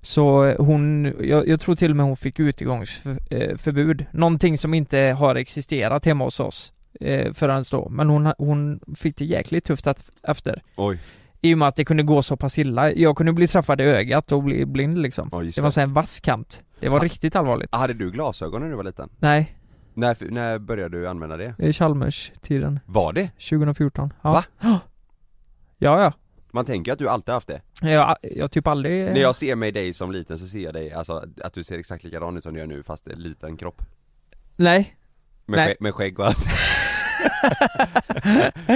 A: Så eh, hon, jag, jag tror till och med hon fick utegångsförbud Någonting som inte har existerat hemma hos oss eh, förrän då Men hon, hon fick det jäkligt tufft att, efter
B: Oj.
A: I och med att det kunde gå så pass illa Jag kunde bli träffad i ögat och bli blind liksom
B: Ja, just
A: Det var
B: det.
A: så här en vass kant Det var
B: Ah.
A: riktigt allvarligt
B: Hade du glasögon när du var liten?
A: Nej,
B: När, när började du använda det?
A: i Chalmers-tiden
B: Var det?
A: 2014 ja.
B: Va?
A: Ja, ja
B: Man tänker att du alltid haft det.
A: Jag, jag har typ aldrig
B: När jag ser mig dig som liten så ser jag dig, alltså att du ser exakt likadan ut som du gör nu fast en liten kropp.
A: Nej
B: Med,
A: Nej.
B: Skägg, med skägg och allt.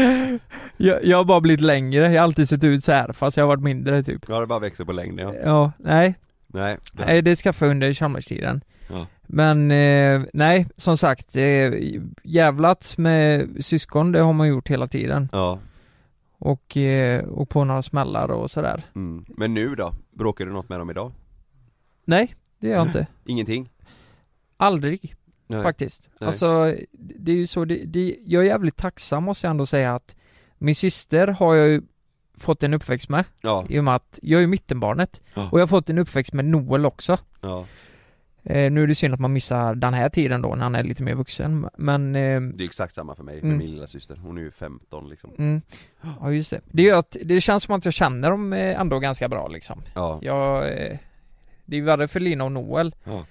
A: jag, jag har bara blivit längre, jag har alltid sett ut så här fast jag har varit mindre typ
B: Ja det bara växer på längden ja.
A: Ja, nej,
B: Nej.
A: Eh. nej det skaffade jag under Chalmerstiden
B: Ja.
A: Men eh, nej, som sagt, eh, jävlat med syskon det har man gjort hela tiden
B: Ja.
A: och, eh, och på några smällar och sådär
B: Mm. Men nu då? Bråkar du något med dem idag?
A: Nej, det gör jag inte,
B: Ingenting?
A: aldrig
B: Nej.
A: faktiskt
B: Nej.
A: Alltså, det är ju så, det, det, jag är jävligt tacksam måste jag ändå säga att min syster har jag ju fått en uppväxt med
B: Ja.
A: i och med att jag är ju mittenbarnet
B: Ja.
A: och jag har fått en uppväxt med Noel också
B: ja.
A: Eh, nu är det synd att man missar den här tiden då när han är lite mer vuxen men eh,
B: Det är exakt samma för mig, med
A: Mm.
B: min lilla syster. Hon är ju 15 liksom.
A: mm, ja just det. Det gör att det känns som att jag känner dem eh, ändå ganska bra liksom.
B: Ja.
A: Jag, eh, det är ju värre för Lina och Noel.
B: Ja.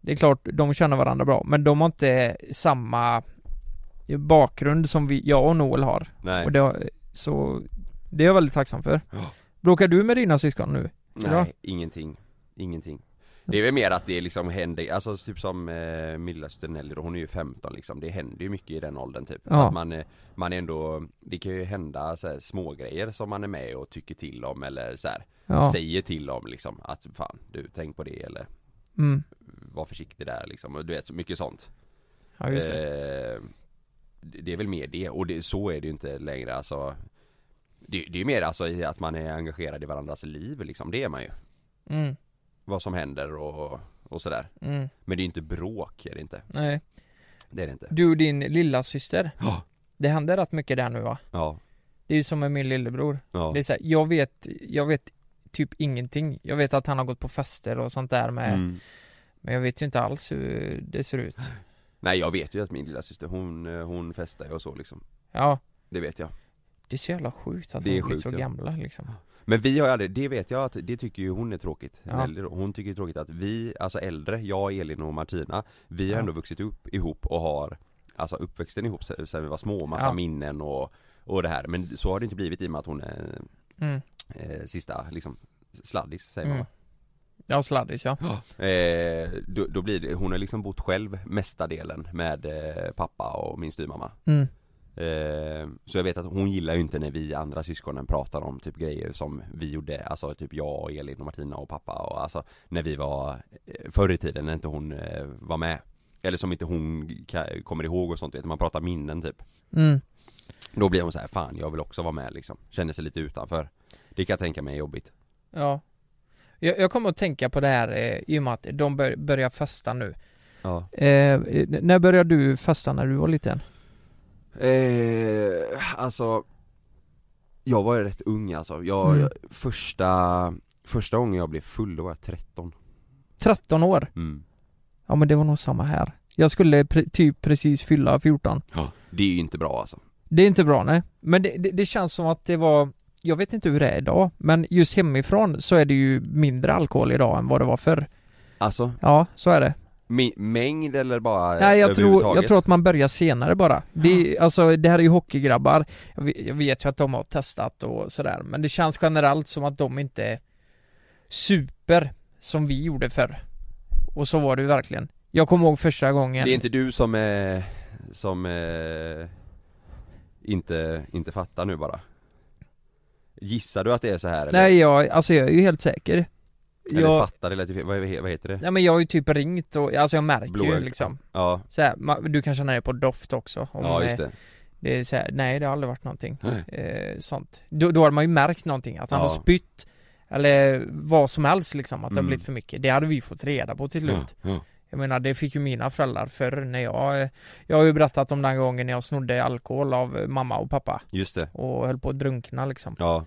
A: Det är klart, de känner varandra bra men de har inte samma bakgrund som vi, jag och Noel har.
B: Nej.
A: Och det, så det är jag väldigt tacksam för.
B: Ja.
A: Bråkar du med dina syskon nu?
B: Nej,
A: Ja.
B: ingenting. Ingenting. Det är väl mer att det liksom händer, alltså typ som eh, Milla Stenelli då, hon är ju 15 liksom, det händer ju mycket i den åldern typ. Så
A: Ja.
B: att man, eh, man är ändå, det kan ju hända så här, små grejer som man är med och tycker till om eller så här,
A: Ja.
B: säger till om liksom att fan du tänk på det eller
A: Mm.
B: var försiktig där liksom, och du vet så mycket sånt.
A: Ja just det.
B: Eh, det det är väl mer det, och det, så är det ju inte längre alltså det, det är ju mer alltså i att man är engagerad i varandras liv liksom, det är man ju Eh.
A: Mm.
B: vad som händer och, och sådär.
A: Mm.
B: Men det är ju inte bråk, är det inte.
A: Nej.
B: Det är det inte.
A: Du och din lilla syster.
B: Ja.
A: Det händer rätt mycket där nu va?
B: Ja.
A: Det är ju som med min lillebror.
B: Ja.
A: Det är så här, jag vet, jag vet typ ingenting. Jag vet att han har gått på fester och sånt där med,
B: Mm.
A: men jag vet ju inte alls hur det ser ut.
B: Nej jag vet ju att min lilla syster hon, eh, hon festar ju och så liksom
A: Ja,
B: Det vet jag
A: det är så jävla sjukt att
B: Det
A: de
B: är
A: är blivit
B: sjukt,
A: så
B: ja.
A: gamla liksom.
B: Men vi har ju aldrig, det vet jag att, det tycker ju hon är tråkigt
A: Ja.
B: Nelly då. Hon tycker det är tråkigt att vi, alltså äldre, jag, Elin och Martina Vi har
A: Ja.
B: ändå vuxit upp ihop och har Alltså uppväxten ihop sen sen vi var små, massa
A: Ja.
B: minnen och, och det här Men så har det inte blivit i och med att hon är
A: Mm.
B: eh, sista liksom sladdis säger man
A: Mm.
B: va?
A: Ja, sladdis ja.
B: eh, då, då blir det, hon har liksom bott själv mesta delen med eh, pappa och min styvmamma
A: Mm.
B: Eh, Så jag vet att hon gillar ju inte när vi andra syskonen pratar om typ grejer som vi gjorde, alltså typ jag och Elin och Martina och pappa och alltså när vi var eh, förr i tiden när inte hon eh, var med. Eller som inte hon ka- kommer ihåg och sånt vet, du. man pratar minnen typ.
A: Mm.
B: Då blir hon så här, fan jag vill också vara med liksom. Känner sig lite utanför. Det kan jag tänka mig är jobbigt.
A: Ja. Jag, jag kommer att tänka på det här eh, i och med att de bör, börjar festa nu.
B: Ja.
A: Eh, när började du festa när du var liten?
B: Eh, alltså Jag var ju rätt ung alltså. Jag,
A: Mm.
B: jag- första, första gången jag blev full då var jag 13.
A: 13 år?
B: Mm.
A: Ja men det var nog samma här. Jag skulle pre- typ precis fylla 14.
B: Ja. Det är ju inte bra alltså.
A: Det är inte bra nej. Men det, det, det känns som att det var, jag vet inte hur det är idag, men just hemifrån så är det ju mindre alkohol idag än vad det var förr.
B: Alltså?
A: Ja, så är det.
B: Mi- mängd eller bara
A: Nej jag tror, jag
B: överhuvudtaget?
A: tror att man börjar senare bara. Det, är- alltså, det här är ju hockeygrabbar, jag vet, jag vet ju att de har testat och sådär, men det känns generellt som att de inte super som vi gjorde förr. Och så var det ju verkligen. Jag kommer ihåg första gången
B: Det är inte du som, eh, som eh, inte, inte fattar nu bara? Gissar du att det är så här eller?
A: Nej jag, alltså jag är ju helt säker
B: eller
A: jag,
B: fattar det lät ju fel. vad, vad heter det?
A: Nej men jag har ju typ ringt och, alltså jag märker ju
B: Blåögd.
A: liksom
B: Ja,
A: så här, ma- du kan känna det på doft också om
B: ja just
A: eh,
B: det
A: det är så här, nej det har aldrig varit någonting
B: Nej.
A: eh, sånt då, då har man ju märkt någonting, att han
B: Ja.
A: har spytt Eller vad som helst liksom, att det
B: Mm.
A: har blivit för mycket Det hade vi fått reda på till slut
B: Ja, ja.
A: Jag menar det fick ju mina föräldrar förr när jag eh, Jag har ju berättat om den gången när jag snodde alkohol av eh, mamma och pappa
B: Just det,
A: och höll på att drunkna liksom
B: ja,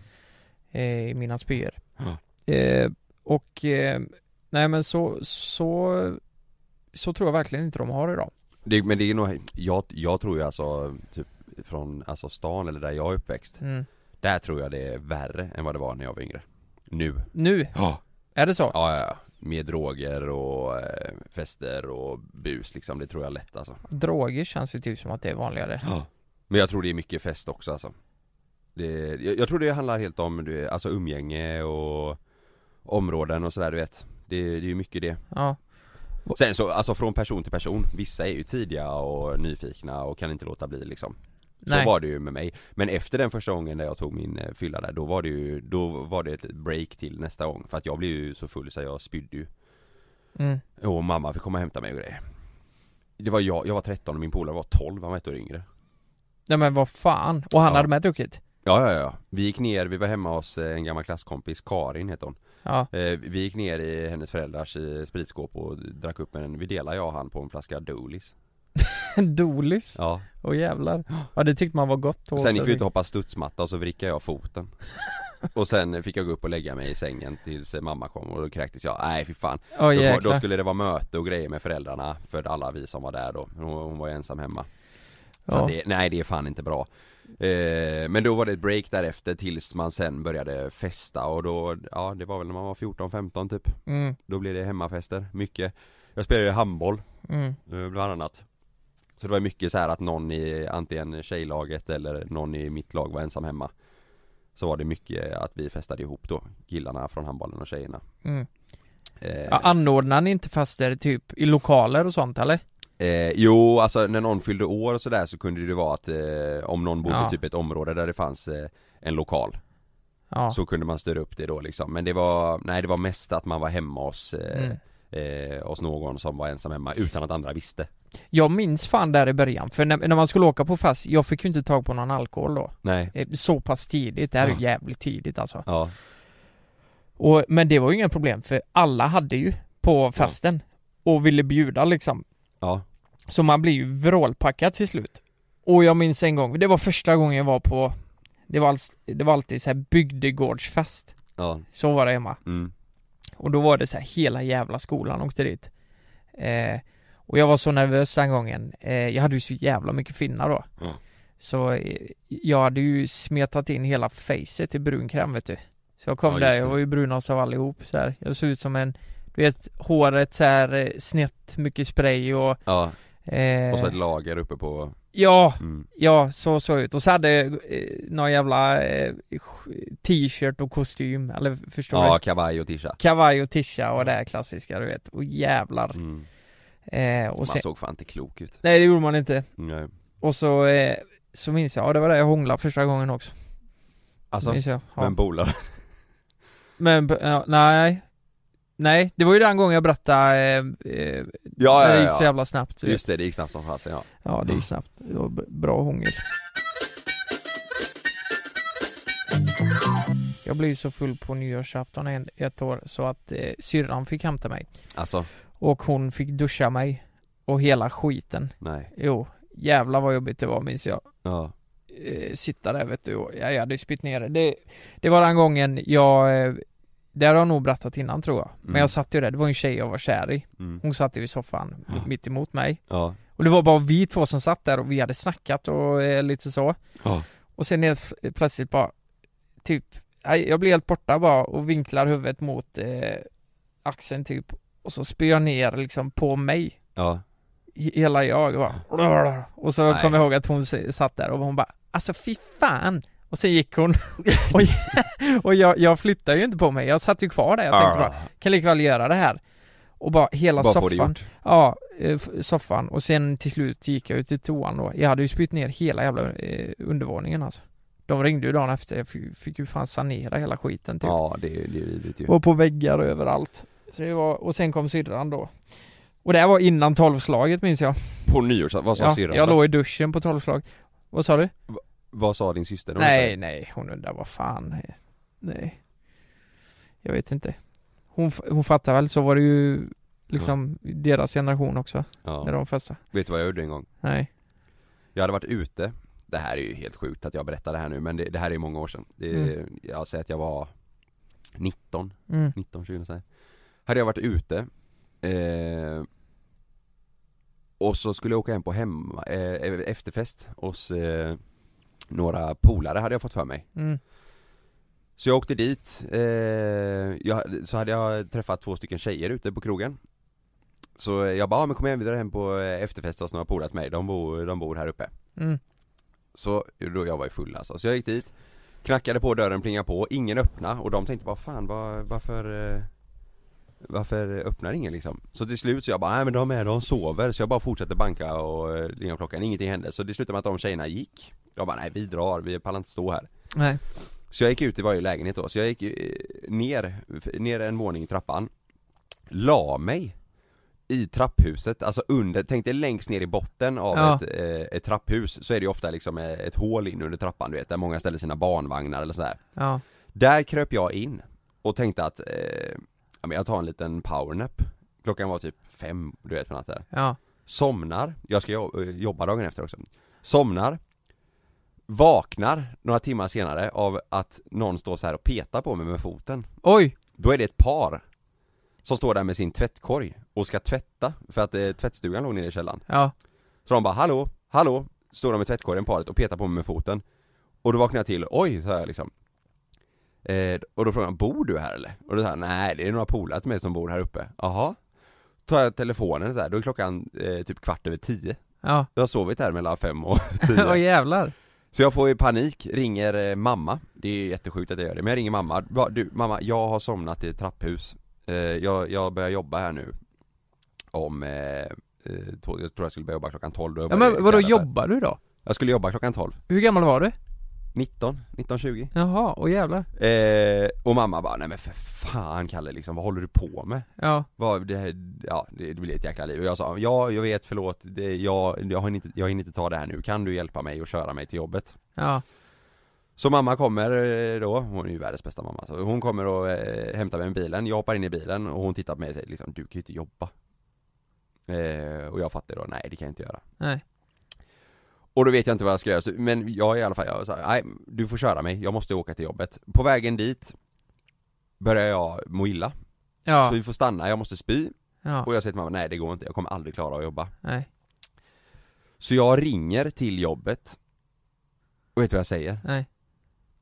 A: eh, i mina spyor.
B: Ja.
A: Eh, och eh, nej men så, så, så tror jag verkligen inte de har idag.
B: det, men det är nog, jag, jag tror ju alltså typ från alltså stan eller där jag är uppväxt
A: Mm.
B: Där tror jag det är värre än vad det var när jag var yngre Nu
A: Nu,
B: Ja
A: är det så?
B: Ja, ja, ja. Med droger och eh, fester och bus liksom, det tror jag lätt alltså.
A: Droger känns ju typ som att det är vanligare.
B: Ja. Men jag tror det är mycket fest också alltså. Det, jag, jag tror det handlar helt om du, vet, alltså umgänge och områden och sådär du vet. Det, det är ju mycket det.
A: Ja.
B: Sen så, alltså från person till person. Vissa är ju tidiga och nyfikna och kan inte låta bli liksom. Så
A: Nej.
B: var det ju med mig. Men efter den första gången när jag tog min eh, fylla där, då var det ju, då var det ett break till nästa gång. För att jag blev ju så full så jag spydde ju.
A: Mm.
B: Och mamma fick komma och hämta mig och grejer Det var jag, jag var 13 och min polare var 12, han var ett år yngre
A: Nej men vad fan. Och han
B: Ja.
A: hade med druckit?
B: Ja ja ja, vi gick ner, vi var hemma hos eh, en gammal klasskompis, Karin hette hon
A: Ja.
B: Eh, Vi gick ner i hennes föräldrars eh, spritskåp och drack upp med en, vi delade jag och han på en flaska Doolis
A: Dolis?
B: Ja,
A: Åh jävlar. Ja det tyckte man var gott. och
B: sen gick
A: så-
B: vi ut och hoppade studsmatta och så vrickade jag foten Och sen fick jag gå upp och lägga mig i sängen tills eh, mamma kom och då kräktes jag, nej fy fan
A: Åh
B: då, var- då
A: jäklar.
B: skulle det vara möte och grejer med föräldrarna för alla vi som var där då, hon, hon var ju ensam hemma Så
A: Ja.
B: att det, nej det är fan inte bra eh, Men då var det ett break därefter tills man sen började festa och då, ja det var väl när man var 14-15 typ
A: Mm.
B: Då blev det hemmafester, mycket Jag spelade ju handboll
A: Mm.
B: eh, bland annat Så det var mycket så här att någon i antingen tjejlaget eller någon i mitt lag var ensam hemma Så var det mycket att vi festade ihop då, killarna från handbollen och tjejerna
A: Mm.
B: eh,
A: Ja, anordnar ni inte fester typ i lokaler och sånt eller?
B: Eh, jo, alltså när någon fyllde år och sådär så kunde det vara att eh, om någon bodde
A: Ja.
B: typ ett område där det fanns eh, en lokal
A: Ja.
B: Så kunde man störa upp det då liksom. Men det var, nej det var mest att man var hemma hos, eh,
A: Mm.
B: eh, hos någon som var ensam hemma utan att andra visste
A: Jag minns fan där i början, för när, när man skulle åka på fest, jag fick ju inte tag på någon alkohol då.
B: Nej,
A: Eh, Så pass tidigt, det här är ju
B: Ja.
A: jävligt tidigt alltså.
B: ja,
A: Och, men det var ju inga problem för alla hade ju på festen och ville bjuda liksom.
B: ja,
A: Så man blir ju vrålpackad till slut. Och jag minns en gång, det var första gången jag var på Det var, alls, det var alltid så här bygdegårdsfest
B: Ja.
A: Så var det hemma
B: Mm.
A: Och då var det så här hela jävla skolan åkte dit eh, Och jag var så nervös den gången eh, Jag hade ju så jävla mycket finnar då
B: Ja.
A: Så eh, jag hade ju smetat in hela facet i brunkräm vet du Så jag kom
B: Ja, just
A: där, jag
B: det.
A: var ju brunast av allihop så här. Jag såg ut som en Du vet håret så här eh, snett, mycket spray och
B: Ja.
A: eh,
B: Och så ett lager uppe på...
A: Ja,
B: Mm.
A: ja så såg jag ut. Och så hade jag eh, någon jävla eh, sk- t-shirt och kostym, eller förstår
B: Ja,
A: du?
B: kavaj och tisha.
A: Kavaj och tisha och det här klassiska du vet, och jävlar
B: Mm.
A: eh, och Mm,
B: Man
A: sen,
B: såg fan inte klok ut.
A: Nej det gjorde man inte
B: Nej.
A: Och så, eh, så minns jag, ja det var där jag hånglade första gången också
B: Alltså,
A: minns jag, ja.
B: men polare.
A: Men, ja, nej Nej, det var ju den gången jag berättade eh, eh,
B: Ja,
A: när
B: ja,
A: det
B: ja,
A: gick så
B: ja.
A: jävla snabbt du vet.
B: Just det, det gick snabbt som fasen ja.
A: Ja det gick snabbt, det var b- bra hångel Jag blev så full på nyårsafton en- ett år så att eh, syrran fick hämta mig
B: Alltså,
A: Och hon fick duscha mig Och hela skiten
B: nej.
A: Jo, jävlar vad jobbigt det var minns jag
B: Ja.
A: eh, Sitta där vet du och jag, jag hade ju spytt ner det. det Det var den gången jag eh, Det har jag nog berättat innan tror jag Men
B: Mm.
A: jag satt ju där, det var en tjej jag var kär i
B: Mm.
A: Hon satt ju i soffan
B: Ja.
A: mitt emot mig
B: Ja.
A: och det var bara vi två som satt där och vi hade snackat och eh, lite så
B: Ja.
A: Och sen helt f- plötsligt bara Typ nej, Jag blir helt borta bara och vinklar huvudet mot eh, axeln typ Och så spyr jag ner liksom på mig
B: Ja.
A: He- Hela jag bara Och så
B: Mm. Nej.
A: kom jag ihåg att hon s- satt där och hon bara Alltså fy fan Och sen gick hon Och, och jag, jag flyttade ju inte på mig Jag satt ju kvar där, jag tänkte bara Kan lika väl göra det här Och bara hela
B: Ah. Bara få det
A: soffan
B: gjort.
A: Ja, eh, f- soffan och sen till slut gick jag ut till toan då. Jag hade ju spytt ner hela jävla eh, undervåningen alltså. De ringde ju dagen efter, jag fick, fick ju fan sanera hela skiten typ.
B: Ja, det är ju det är vidrigt ju.
A: Och på väggar och överallt. Så det var, och sen kom syrran då. Och det här var innan tolvslaget minns jag.
B: På nyårs, vad sa
A: ja,
B: syrran?
A: Jag
B: Va-
A: låg i duschen på tolvslag. Vad sa du?
B: Vad sa din syster? då?
A: Nej, nej, hon undrar vad fan. eh, Nej. Jag vet inte. Hon, f- hon fattar väl, så var det ju liksom deras generation också.
B: Ja.
A: När de festade.
B: Vet du vad jag gjorde en gång?
A: Nej.
B: Jag hade varit ute Det här är ju helt sjukt att jag berättar det här nu men det, det här är ju många år sedan det,
A: Mm.
B: Jag säger att jag var 19,
A: Mm.
B: 19, 20 så här. Hade jag varit ute eh, Och så skulle jag åka hem på hemma, eh, efterfest hos eh, Några polare hade jag fått för mig
A: Mm.
B: Så jag åkte dit, eh, jag, så hade jag träffat två stycken tjejer ute på krogen Så jag bara, "Ja, men kom igen vi drar hem på eh, efterfest hos några polare till mig, de bor, de bor här uppe
A: Mm.
B: Så, då jag var ju full alltså, så jag gick dit Knackade på dörren, plingade på, ingen öppna och de tänkte bara fan var, varför eh, Varför öppnar ingen liksom? Så till slut så jag bara, nej men de är, de sover så jag bara fortsatte banka och eh, ringa på klockan, ingenting hände så det slutade med att de tjejerna gick Jag bara, nej vi drar, vi pallar inte stå här
A: Nej.
B: så jag gick ut i varje lägenhet då, så jag gick eh, ner, ner en våning i trappan La mig i trapphuset, alltså under, tänk dig längst ner i botten av
A: Ja.
B: ett, eh, ett trapphus så är det ju ofta liksom eh, ett hål in under trappan du vet, där många ställer sina barnvagnar eller sådär
A: Ja.
B: Där kröp jag in och tänkte att, eh, ja men jag tar en liten powernap Klockan var typ fem, du vet på natten
A: Ja.
B: Somnar, jag ska jo- eh, jobba dagen efter också Somnar Vaknar några timmar senare av att någon står så här och petar på mig med foten
A: Oj!
B: Då är det ett par Som står där med sin tvättkorg och ska tvätta för att eh, tvättstugan låg nere i källaren
A: Ja.
B: Så de bara 'Hallå, hallå' Står de med tvättkorgen paret och petar på mig med foten Och då vaknar jag till, oj, sa jag liksom eh, Och då frågar han 'Bor du här eller?' Och då sa han 'Nej, det är några polare till mig som bor här uppe' Jaha? Tar jag telefonen så här, då är klockan eh, typ kvart över tio
A: Ja.
B: Jag har sovit här mellan fem och
A: Åh
B: tio
A: jävlar.
B: Så jag får ju panik, ringer eh, mamma Det är ju jättesjukt att jag gör det, men jag ringer mamma Bara, Du mamma, jag har somnat i ett trapphus eh, jag, jag börjar jobba här nu Om, eh, eh, två, jag tror jag skulle börja jobba klockan 12 då
A: Ja,
B: jobbar jag i
A: men vadå
B: Gällivare.
A: jobbar du då?
B: Jag skulle jobba klockan 12
A: Hur gammal var du?
B: 19, 19.20
A: Jaha, åh jävlar.
B: eh, Och mamma bara, nej men för fan Kalle liksom, vad håller du på med?
A: Ja.
B: Vad, det, här- ja, det, det blir ett jäkla liv och jag sa, ja jag vet förlåt, det, jag, jag, hinner inte, jag hinner inte ta det här nu, kan du hjälpa mig och köra mig till jobbet?
A: Ja.
B: Så mamma kommer eh, då, hon är ju världens bästa mamma, så hon kommer och eh, hämtar mig med bilen, jag hoppar in i bilen och hon tittar på mig och säger liksom, du kan ju inte jobba eh, Och jag fattar då, nej det kan jag inte göra
A: Nej.
B: Och då vet jag inte vad jag ska göra, så, men jag i alla fall, jag sa nej du får köra mig, jag måste åka till jobbet På vägen dit börjar jag må illa
A: Ja.
B: Så vi får stanna, jag måste spy
A: Ja.
B: Och jag säger till mamma, nej det går inte, jag kommer aldrig klara att jobba
A: Nej.
B: Så jag ringer till jobbet Och vet du vad jag säger?
A: Nej.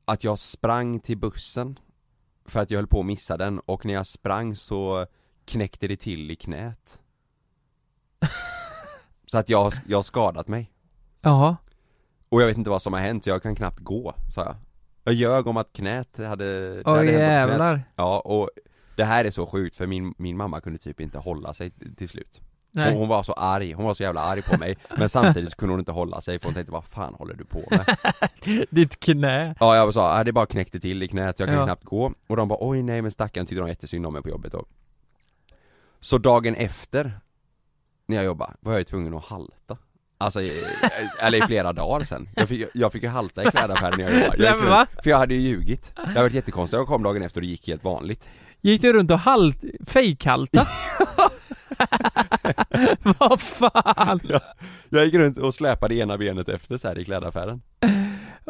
B: Att jag sprang till bussen För att jag höll på att missa den och när jag sprang så knäckte det till i knät Så att jag, jag har skadat mig
A: Jaha.
B: och jag vet inte vad som har hänt, jag kan knappt gå, sa jag Jag ljög om att knät hade det
A: Oj,
B: hade hänt något knät.
A: jävlar.
B: Ja, och det här är så sjukt för min, min mamma kunde typ inte hålla sig t- till slut
A: Nej.
B: Nej. Hon var så arg, hon var så jävla arg på mig Men samtidigt så kunde hon inte hålla sig för hon tänkte vad fan håller du på med?
A: Ditt knä.
B: Ja jag sa, "Ah, det bara knäckte till i knät, jag kan
A: Ja.
B: knappt gå Och de bara, oj nej men stackaren tyckte de jättesynd om mig på jobbet då Så dagen efter När jag jobbade, var jag ju tvungen att halta Alltså, i- eller i flera dagar sen Jag fick, jag fick ju halta i klädaffären när jag jobbade
A: Nej,
B: jag
A: men
B: gick
A: va?
B: runt- För jag hade ju ljugit Det hade varit jättekonstigt, jag kom dagen efter och det gick helt vanligt
A: Gick du runt och halt, fejkhalta? Vad fan?
B: jag, jag gick runt och släpade ena benet efter så här i klädaffären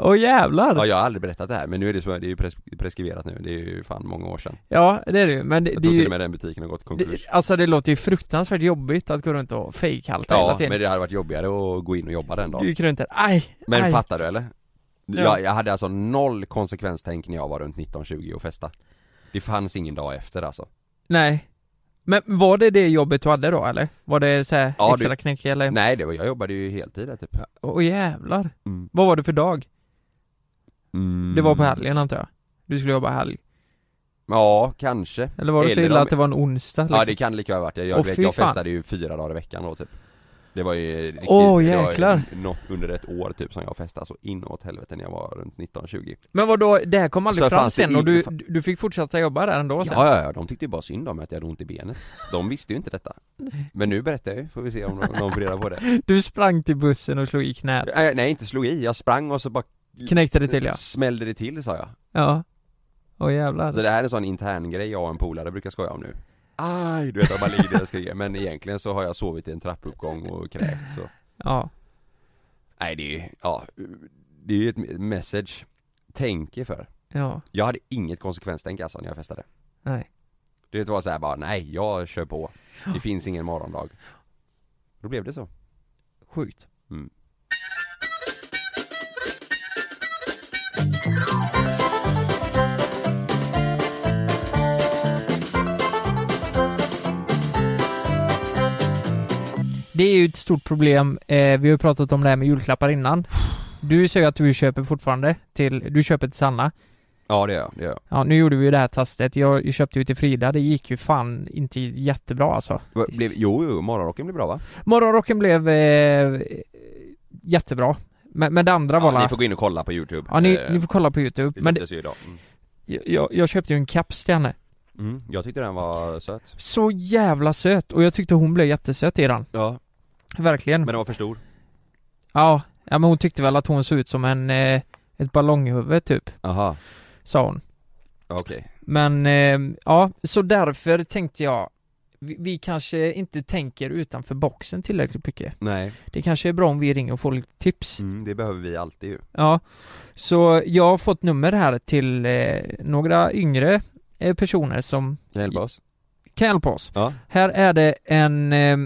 A: Åh jävlar.
B: Ja jag har aldrig berättat det här men nu är det så, det är ju pres- preskriberat nu, det är ju fan många år sedan
A: Ja, det är det ju. Men det,
B: Jag
A: det är
B: tror
A: ju...
B: till och med den butiken har gått i konkurs
A: det, alltså det låter ju fruktansvärt jobbigt att gå runt och fejkhalta hela
B: Ja,
A: tiden.
B: men det hade varit jobbigare att gå in och jobba den dagen
A: Du gick runt där, aj,
B: Men
A: aj.
B: fattar du eller?
A: Ja.
B: Jag, jag hade alltså noll konsekvenstänk när jag var runt 19-20 och festa Det fanns ingen dag efter alltså
A: Nej. Men var det det jobbet du hade då eller? Var det så här
B: Ja,
A: extra
B: du-
A: knäck eller?
B: Nej det var, jag jobbade ju heltid där, typ
A: Åh jävlar.
B: Mm.
A: Vad var det för dag?
B: Mm.
A: Det var på helgen antar jag? Du skulle jobba helg?
B: Ja, kanske
A: Eller var det så
B: Eller
A: illa
B: om-
A: att det var en onsdag liksom?
B: Ja det kan lika väl ha varit, jag, jag,
A: Åh,
B: vet,
A: fy
B: jag
A: fan.
B: festade ju fyra dagar i veckan då typ Det var ju riktigt,
A: Åh,
B: det var
A: jäklar.
B: ju något under ett år typ som jag festade så inåt helvete när jag var runt 19-20
A: Men vadå, det här kom aldrig
B: Så
A: fram
B: fanns det
A: sen och du,
B: i-
A: du fick fortsätta jobba där ändå sen?
B: Ja, ja, ja, de tyckte ju bara synd om mig att jag hade ont i benet De visste ju inte detta Men nu berättar jag ju, får vi se om någon någon får reda på det
A: Du sprang till bussen och slog i knät,
B: Nej, nej, inte slog i, jag sprang och så bara
A: knäckte det till ja?
B: Smällde det till sa jag
A: Ja. Åh jävlar.
B: Så det här är en sån intern grej jag och en polare brukar skoja om nu Aj, du vet jag bara ligger där och skriker Men egentligen så har jag sovit i en trappuppgång och kräkt så
A: Ja.
B: Nej det är ju, ja Det är ju ett message Tänk er för
A: Ja.
B: Jag hade inget konsekvenstänk alltså när jag festade
A: Nej.
B: Du vet, Det var såhär bara, nej jag kör på Det finns ingen morgondag Då blev det så
A: Sjukt.
B: Mm.
A: Det är ju ett stort problem, eh, vi har ju pratat om det här med julklappar innan. Du säger att du köper fortfarande till, du köper till Sanna.
B: Ja det gör jag, det gör jag
A: Ja, nu gjorde vi ju det här testet. Jag köpte ju till Frida, det gick ju fan inte jättebra alltså.
B: Va, blev, Jo, jo, morgonrocken blev bra va?
A: Morgonrocken blev eh, jättebra. Men, men det andra var
B: Ja, ni
A: la-
B: får gå in och kolla på youtube
A: Ja, ni,
B: Eh,
A: ni får kolla på youtube.
B: Det
A: Men
B: men
A: det,
B: ju idag mm.
A: jag, jag köpte ju en caps till henne.
B: Mm. Jag tyckte den var söt
A: Så jävla söt och jag tyckte hon blev jättesöt i den.
B: Ja
A: Verkligen.
B: Men den var för stor
A: Ja, ja men hon tyckte väl att hon såg ut som en, eh, ett ballonghuvud typ,
B: Aha,
A: sa hon.
B: Ja, okej
A: Men eh, ja, så därför tänkte jag vi, vi kanske inte tänker utanför boxen tillräckligt mycket.
B: Nej,
A: Det kanske är bra om vi ringer och får lite tips.
B: mm, det behöver vi alltid ju
A: Ja, så jag har fått nummer här till eh, några yngre eh, personer som
B: Kan hjälpa oss?
A: kan hjälpa oss.
B: Ja
A: Här är det en, eh,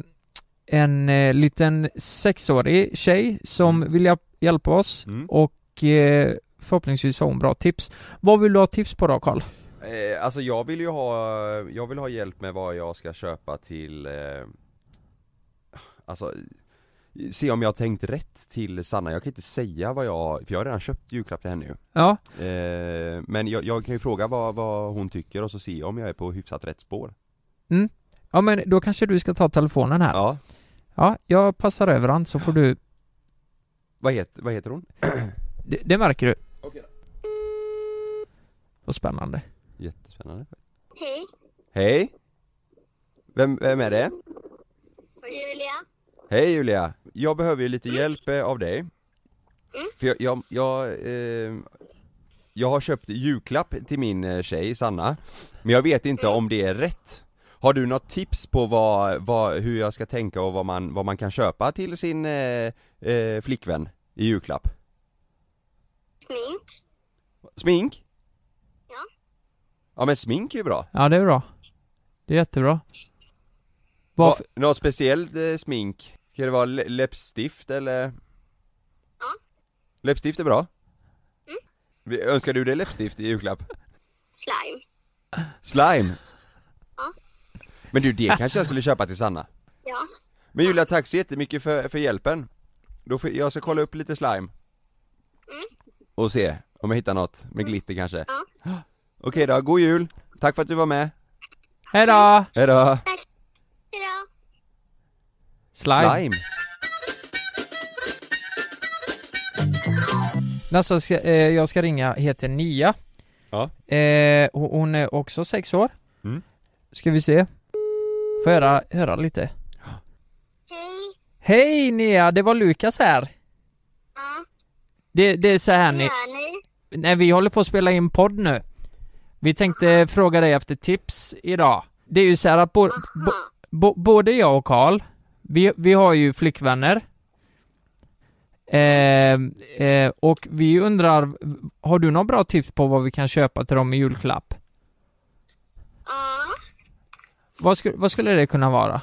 A: en eh, liten sexårig tjej som vill hjälp- hjälpa oss
B: Mm.
A: och eh, förhoppningsvis har hon bra tips. Vad vill du ha tips på då Karl?
B: eh, Alltså jag vill ju ha, jag vill ha hjälp med vad jag ska köpa till eh, Alltså Se om jag har tänkt rätt till Sanna, jag kan inte säga vad jag, för jag har redan köpt julklapp till henne ju
A: Ja,
B: eh, Men jag, jag kan ju fråga vad, vad hon tycker och så se om jag är på hyfsat rätt spår
A: ja men då kanske du ska ta telefonen här.
B: Ja,
A: Ja, jag passar över han så får du,
B: vad heter, vad heter hon?
A: det, det märker du.
B: Okej.
A: Vad spännande.
B: Jättespännande
G: Hej,
B: Hej! Vem, vem är det?
G: Julia. Mm.
B: Hej Julia! Jag behöver ju lite hjälp eh, av dig För jag, jag, jag, eh, jag har köpt julklapp till min eh, tjej Sanna Men jag vet
G: Mm.
B: inte om det är rätt Har du något tips på vad, vad, hur jag ska tänka och vad man, vad man kan köpa till sin eh, eh, flickvän? I julklapp?
G: Smink.
B: Smink?
G: Ja.
B: Ja men smink är ju bra
A: Ja, det är bra. Det är jättebra.
B: Va, Något speciellt eh, smink? Ska det vara lä- läppstift eller? Ja Läppstift är bra? Mm. Önskar du dig läppstift i julklapp?
G: Slime.
B: Slime? Men du det kanske jag skulle köpa till Sanna?
G: Ja.
B: Men Julia tack så jättemycket för, för hjälpen Då får, jag ska kolla upp lite slime Mm. Och se om jag hittar något med glitter kanske Okej då, god jul! Tack för att du var med!
A: Hejdå!
B: Hejdå!
A: Slime.
B: Slime.
A: Nästa ska, eh, jag ska ringa heter Nia.
B: Ja.
A: Eh, ho- hon är också sex år.
B: Mm.
A: Ska vi se. Får jag höra, höra lite? Hej! Hej Nia, det var Lukas här. Det, det är så här ni... Nej, vi håller på att spela in podd nu. Vi tänkte fråga dig efter tips idag. Det är ju så här att bo, bo, bo, både jag och Karl, vi, vi har ju flickvänner. Eh, eh, och vi undrar, har du några bra tips på vad vi kan köpa till dem i julklapp? Vad, sku, vad skulle det kunna vara?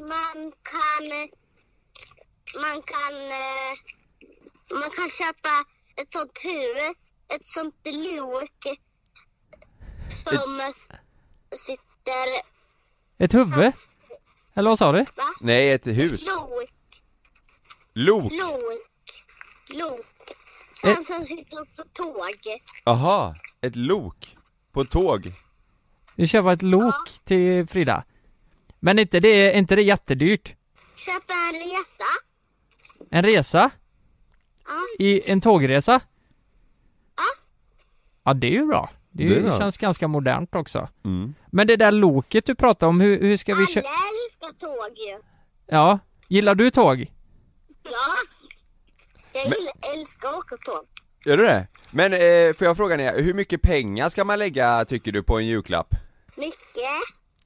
G: Man kan... Man kan... eh, Man kan köpa ett sånt hus, ett sånt lok som sitter...
A: Ett huvud? Eller vad sa du?
B: Nej, ett hus.
G: Lok.
B: Lok?
G: Lok. Lok. Han som sitter på tåg.
B: Aha, ett lok? På tåg?
A: Vi köper ett lok till Frida. Men inte det, inte det jättedyrt?
G: Köpa en resa.
A: En resa? I en tågresa? Ja, det är ju bra. Det, är
B: Det
A: ju,
B: är bra. Mm.
A: känns ganska modernt också. Men det där loket du pratade om, hur, hur ska vi köpa?
G: Eller ska tåg ju.
A: Ja, gillar du tåg?
G: Ja. Jag gillar, älskar att åka tåg.
B: Gör du det? Men eh, får jag fråga dig, hur mycket pengar ska man lägga tycker du på en julklapp?
G: Mycket.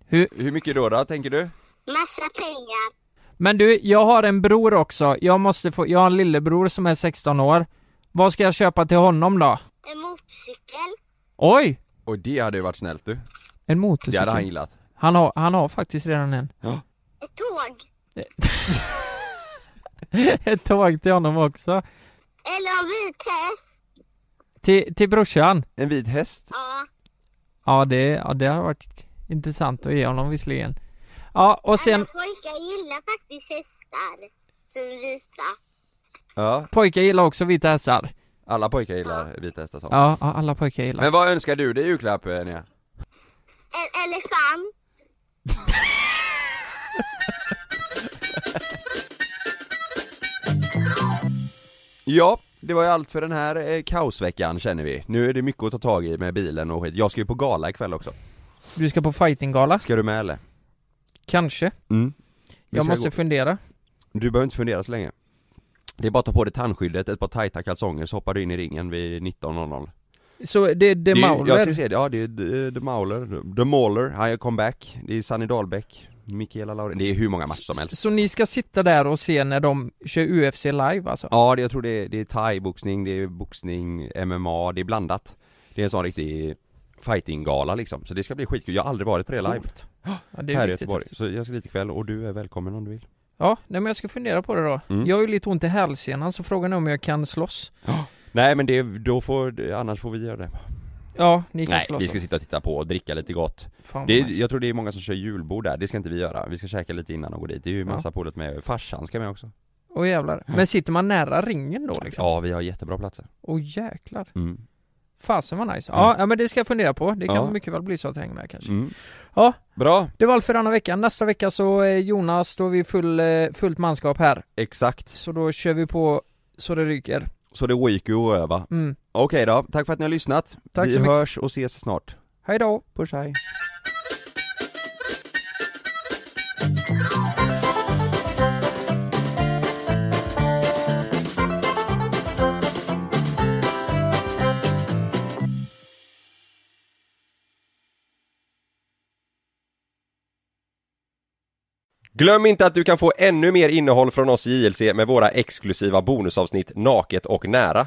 A: Hur,
B: hur mycket då, då tänker du?
G: Massa pengar.
A: Men du, jag har en bror också. Jag måste få, jag har en lillebror som är 16 år. Vad ska jag köpa till honom då?
G: En motorcykel.
A: Oj!
B: Och det hade ju varit snällt du.
A: En
B: Det
A: motorcykel.
B: hade han gillat.
A: Han har, han har faktiskt redan en.
B: Ja.
G: Ett tåg.
A: Ett tåg till honom också.
G: Eller en vit häst.
A: Till, till brorsan.
B: En vit häst?
G: Ja.
A: Ja, det, ja, det har varit intressant att ge honom visserligen. Ja, och sen,
G: Pojkar gillar faktiskt hästar. Som vita.
B: Ja.
A: pojkar gillar också vita hästar.
B: Alla pojkar gillar vita hästar som.
A: Ja, ja, alla pojkar gillar.
B: Men vad önskar du dig i julklapp eh, Nia?
G: En elefant.
B: Ja, det var ju allt för den här eh, kaosveckan känner vi. Nu är det mycket att ta tag i med bilen och skit. Jag ska ju på gala ikväll också.
A: Du ska på fightinggala?
B: Ska du med eller?
A: Kanske.
B: Mm. Vi
A: Jag
B: ska
A: måste
B: gå-
A: fundera.
B: Du behöver inte fundera så länge Det är bara att ta på dig tandskyddet, ett par tajta kalsonger så hoppar du in i ringen vid 19.00
A: Så det är
B: Det är ju- Jag ska
A: Demauler?
B: se, det. ja det är The- The Mauler, The Mauler, han gör comeback Det är Sunny Dahlbäck, Mikaela Laurin, det är hur många matcher som helst
A: Så ni ska sitta där och se när de kör UFC live alltså?
B: Ja, det, jag tror det är, det är thai-boxning, det är boxning, MMA, det är blandat Det är en sån riktig fighting-gala liksom, så det ska bli skitkul, jag har aldrig varit på det live
A: Coolt. Ja, det är
B: Här i
A: viktigt
B: Göteborg,
A: faktiskt.
B: så jag ska dit ikväll och du är välkommen om du vill
A: Ja, nej men jag ska fundera på det då.
B: Mm.
A: Jag har ju lite ont i hälsenan så frågan är om jag kan slåss.
B: Nej men det, då får, annars får vi göra det
A: Ja, ni kan
B: Nej,
A: slåss.
B: vi ska sitta och titta på och dricka lite gott
A: Fan vad
B: det är,
A: nice.
B: Jag tror det är många som kör julbord där, det ska inte vi göra. Vi ska käka lite innan och gå dit. Det är ju massa
A: Ja.
B: polare med, farsan ska med också
A: Åh jävlar. Men sitter man nära ringen då liksom?
B: Mm. Ja, vi har jättebra platser
A: Åh jäklar.
B: mm.
A: Fasen vad nice.
B: Mm.
A: Ja, ja men det ska jag fundera på. Det kan
B: Ja.
A: mycket väl bli så att jag hänger med kanske.
B: Mm.
A: Ja.
B: Bra,
A: Det var allt för denna veckan. Nästa vecka så eh, Jonas, då är vi full, eh, fullt manskap här.
B: exakt.
A: Så då kör vi på så det ryker.
B: Så det är week och öva.
A: Mm.
B: Okej då, tack för att ni har lyssnat.
A: Tack
B: vi
A: så mycket.
B: hörs och ses snart.
A: Hej då!
B: Puss hej! Glöm inte att du kan få ännu mer innehåll från oss i JLC med våra exklusiva bonusavsnitt Naket och nära.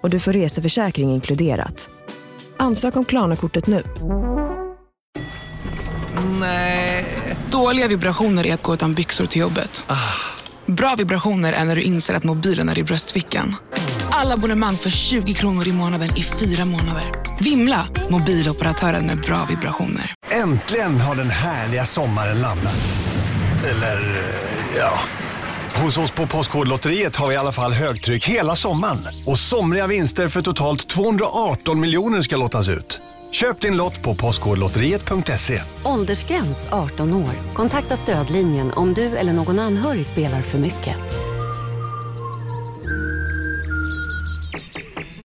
H: och du får reseförsäkring inkluderat. Ansök om Klarna-kortet nu.
I: Nej. Dåliga vibrationer är att gå utan byxor till jobbet. Bra vibrationer är när du inser att mobilen är i bröstfickan. Alla abonnemang för 20 kronor i månaden i fyra månader. Vimla! Mobiloperatören med bra vibrationer.
J: Äntligen har den härliga sommaren landat. Eller, ja. Hos oss på Postkodlotteriet har vi i alla fall högtryck hela sommaren. Och somriga vinster för totalt 218 miljoner ska lottas ut. Köp din lott på postkodlotteriet.se.
K: Åldersgräns 18 år. Kontakta stödlinjen om du eller någon anhörig spelar för mycket.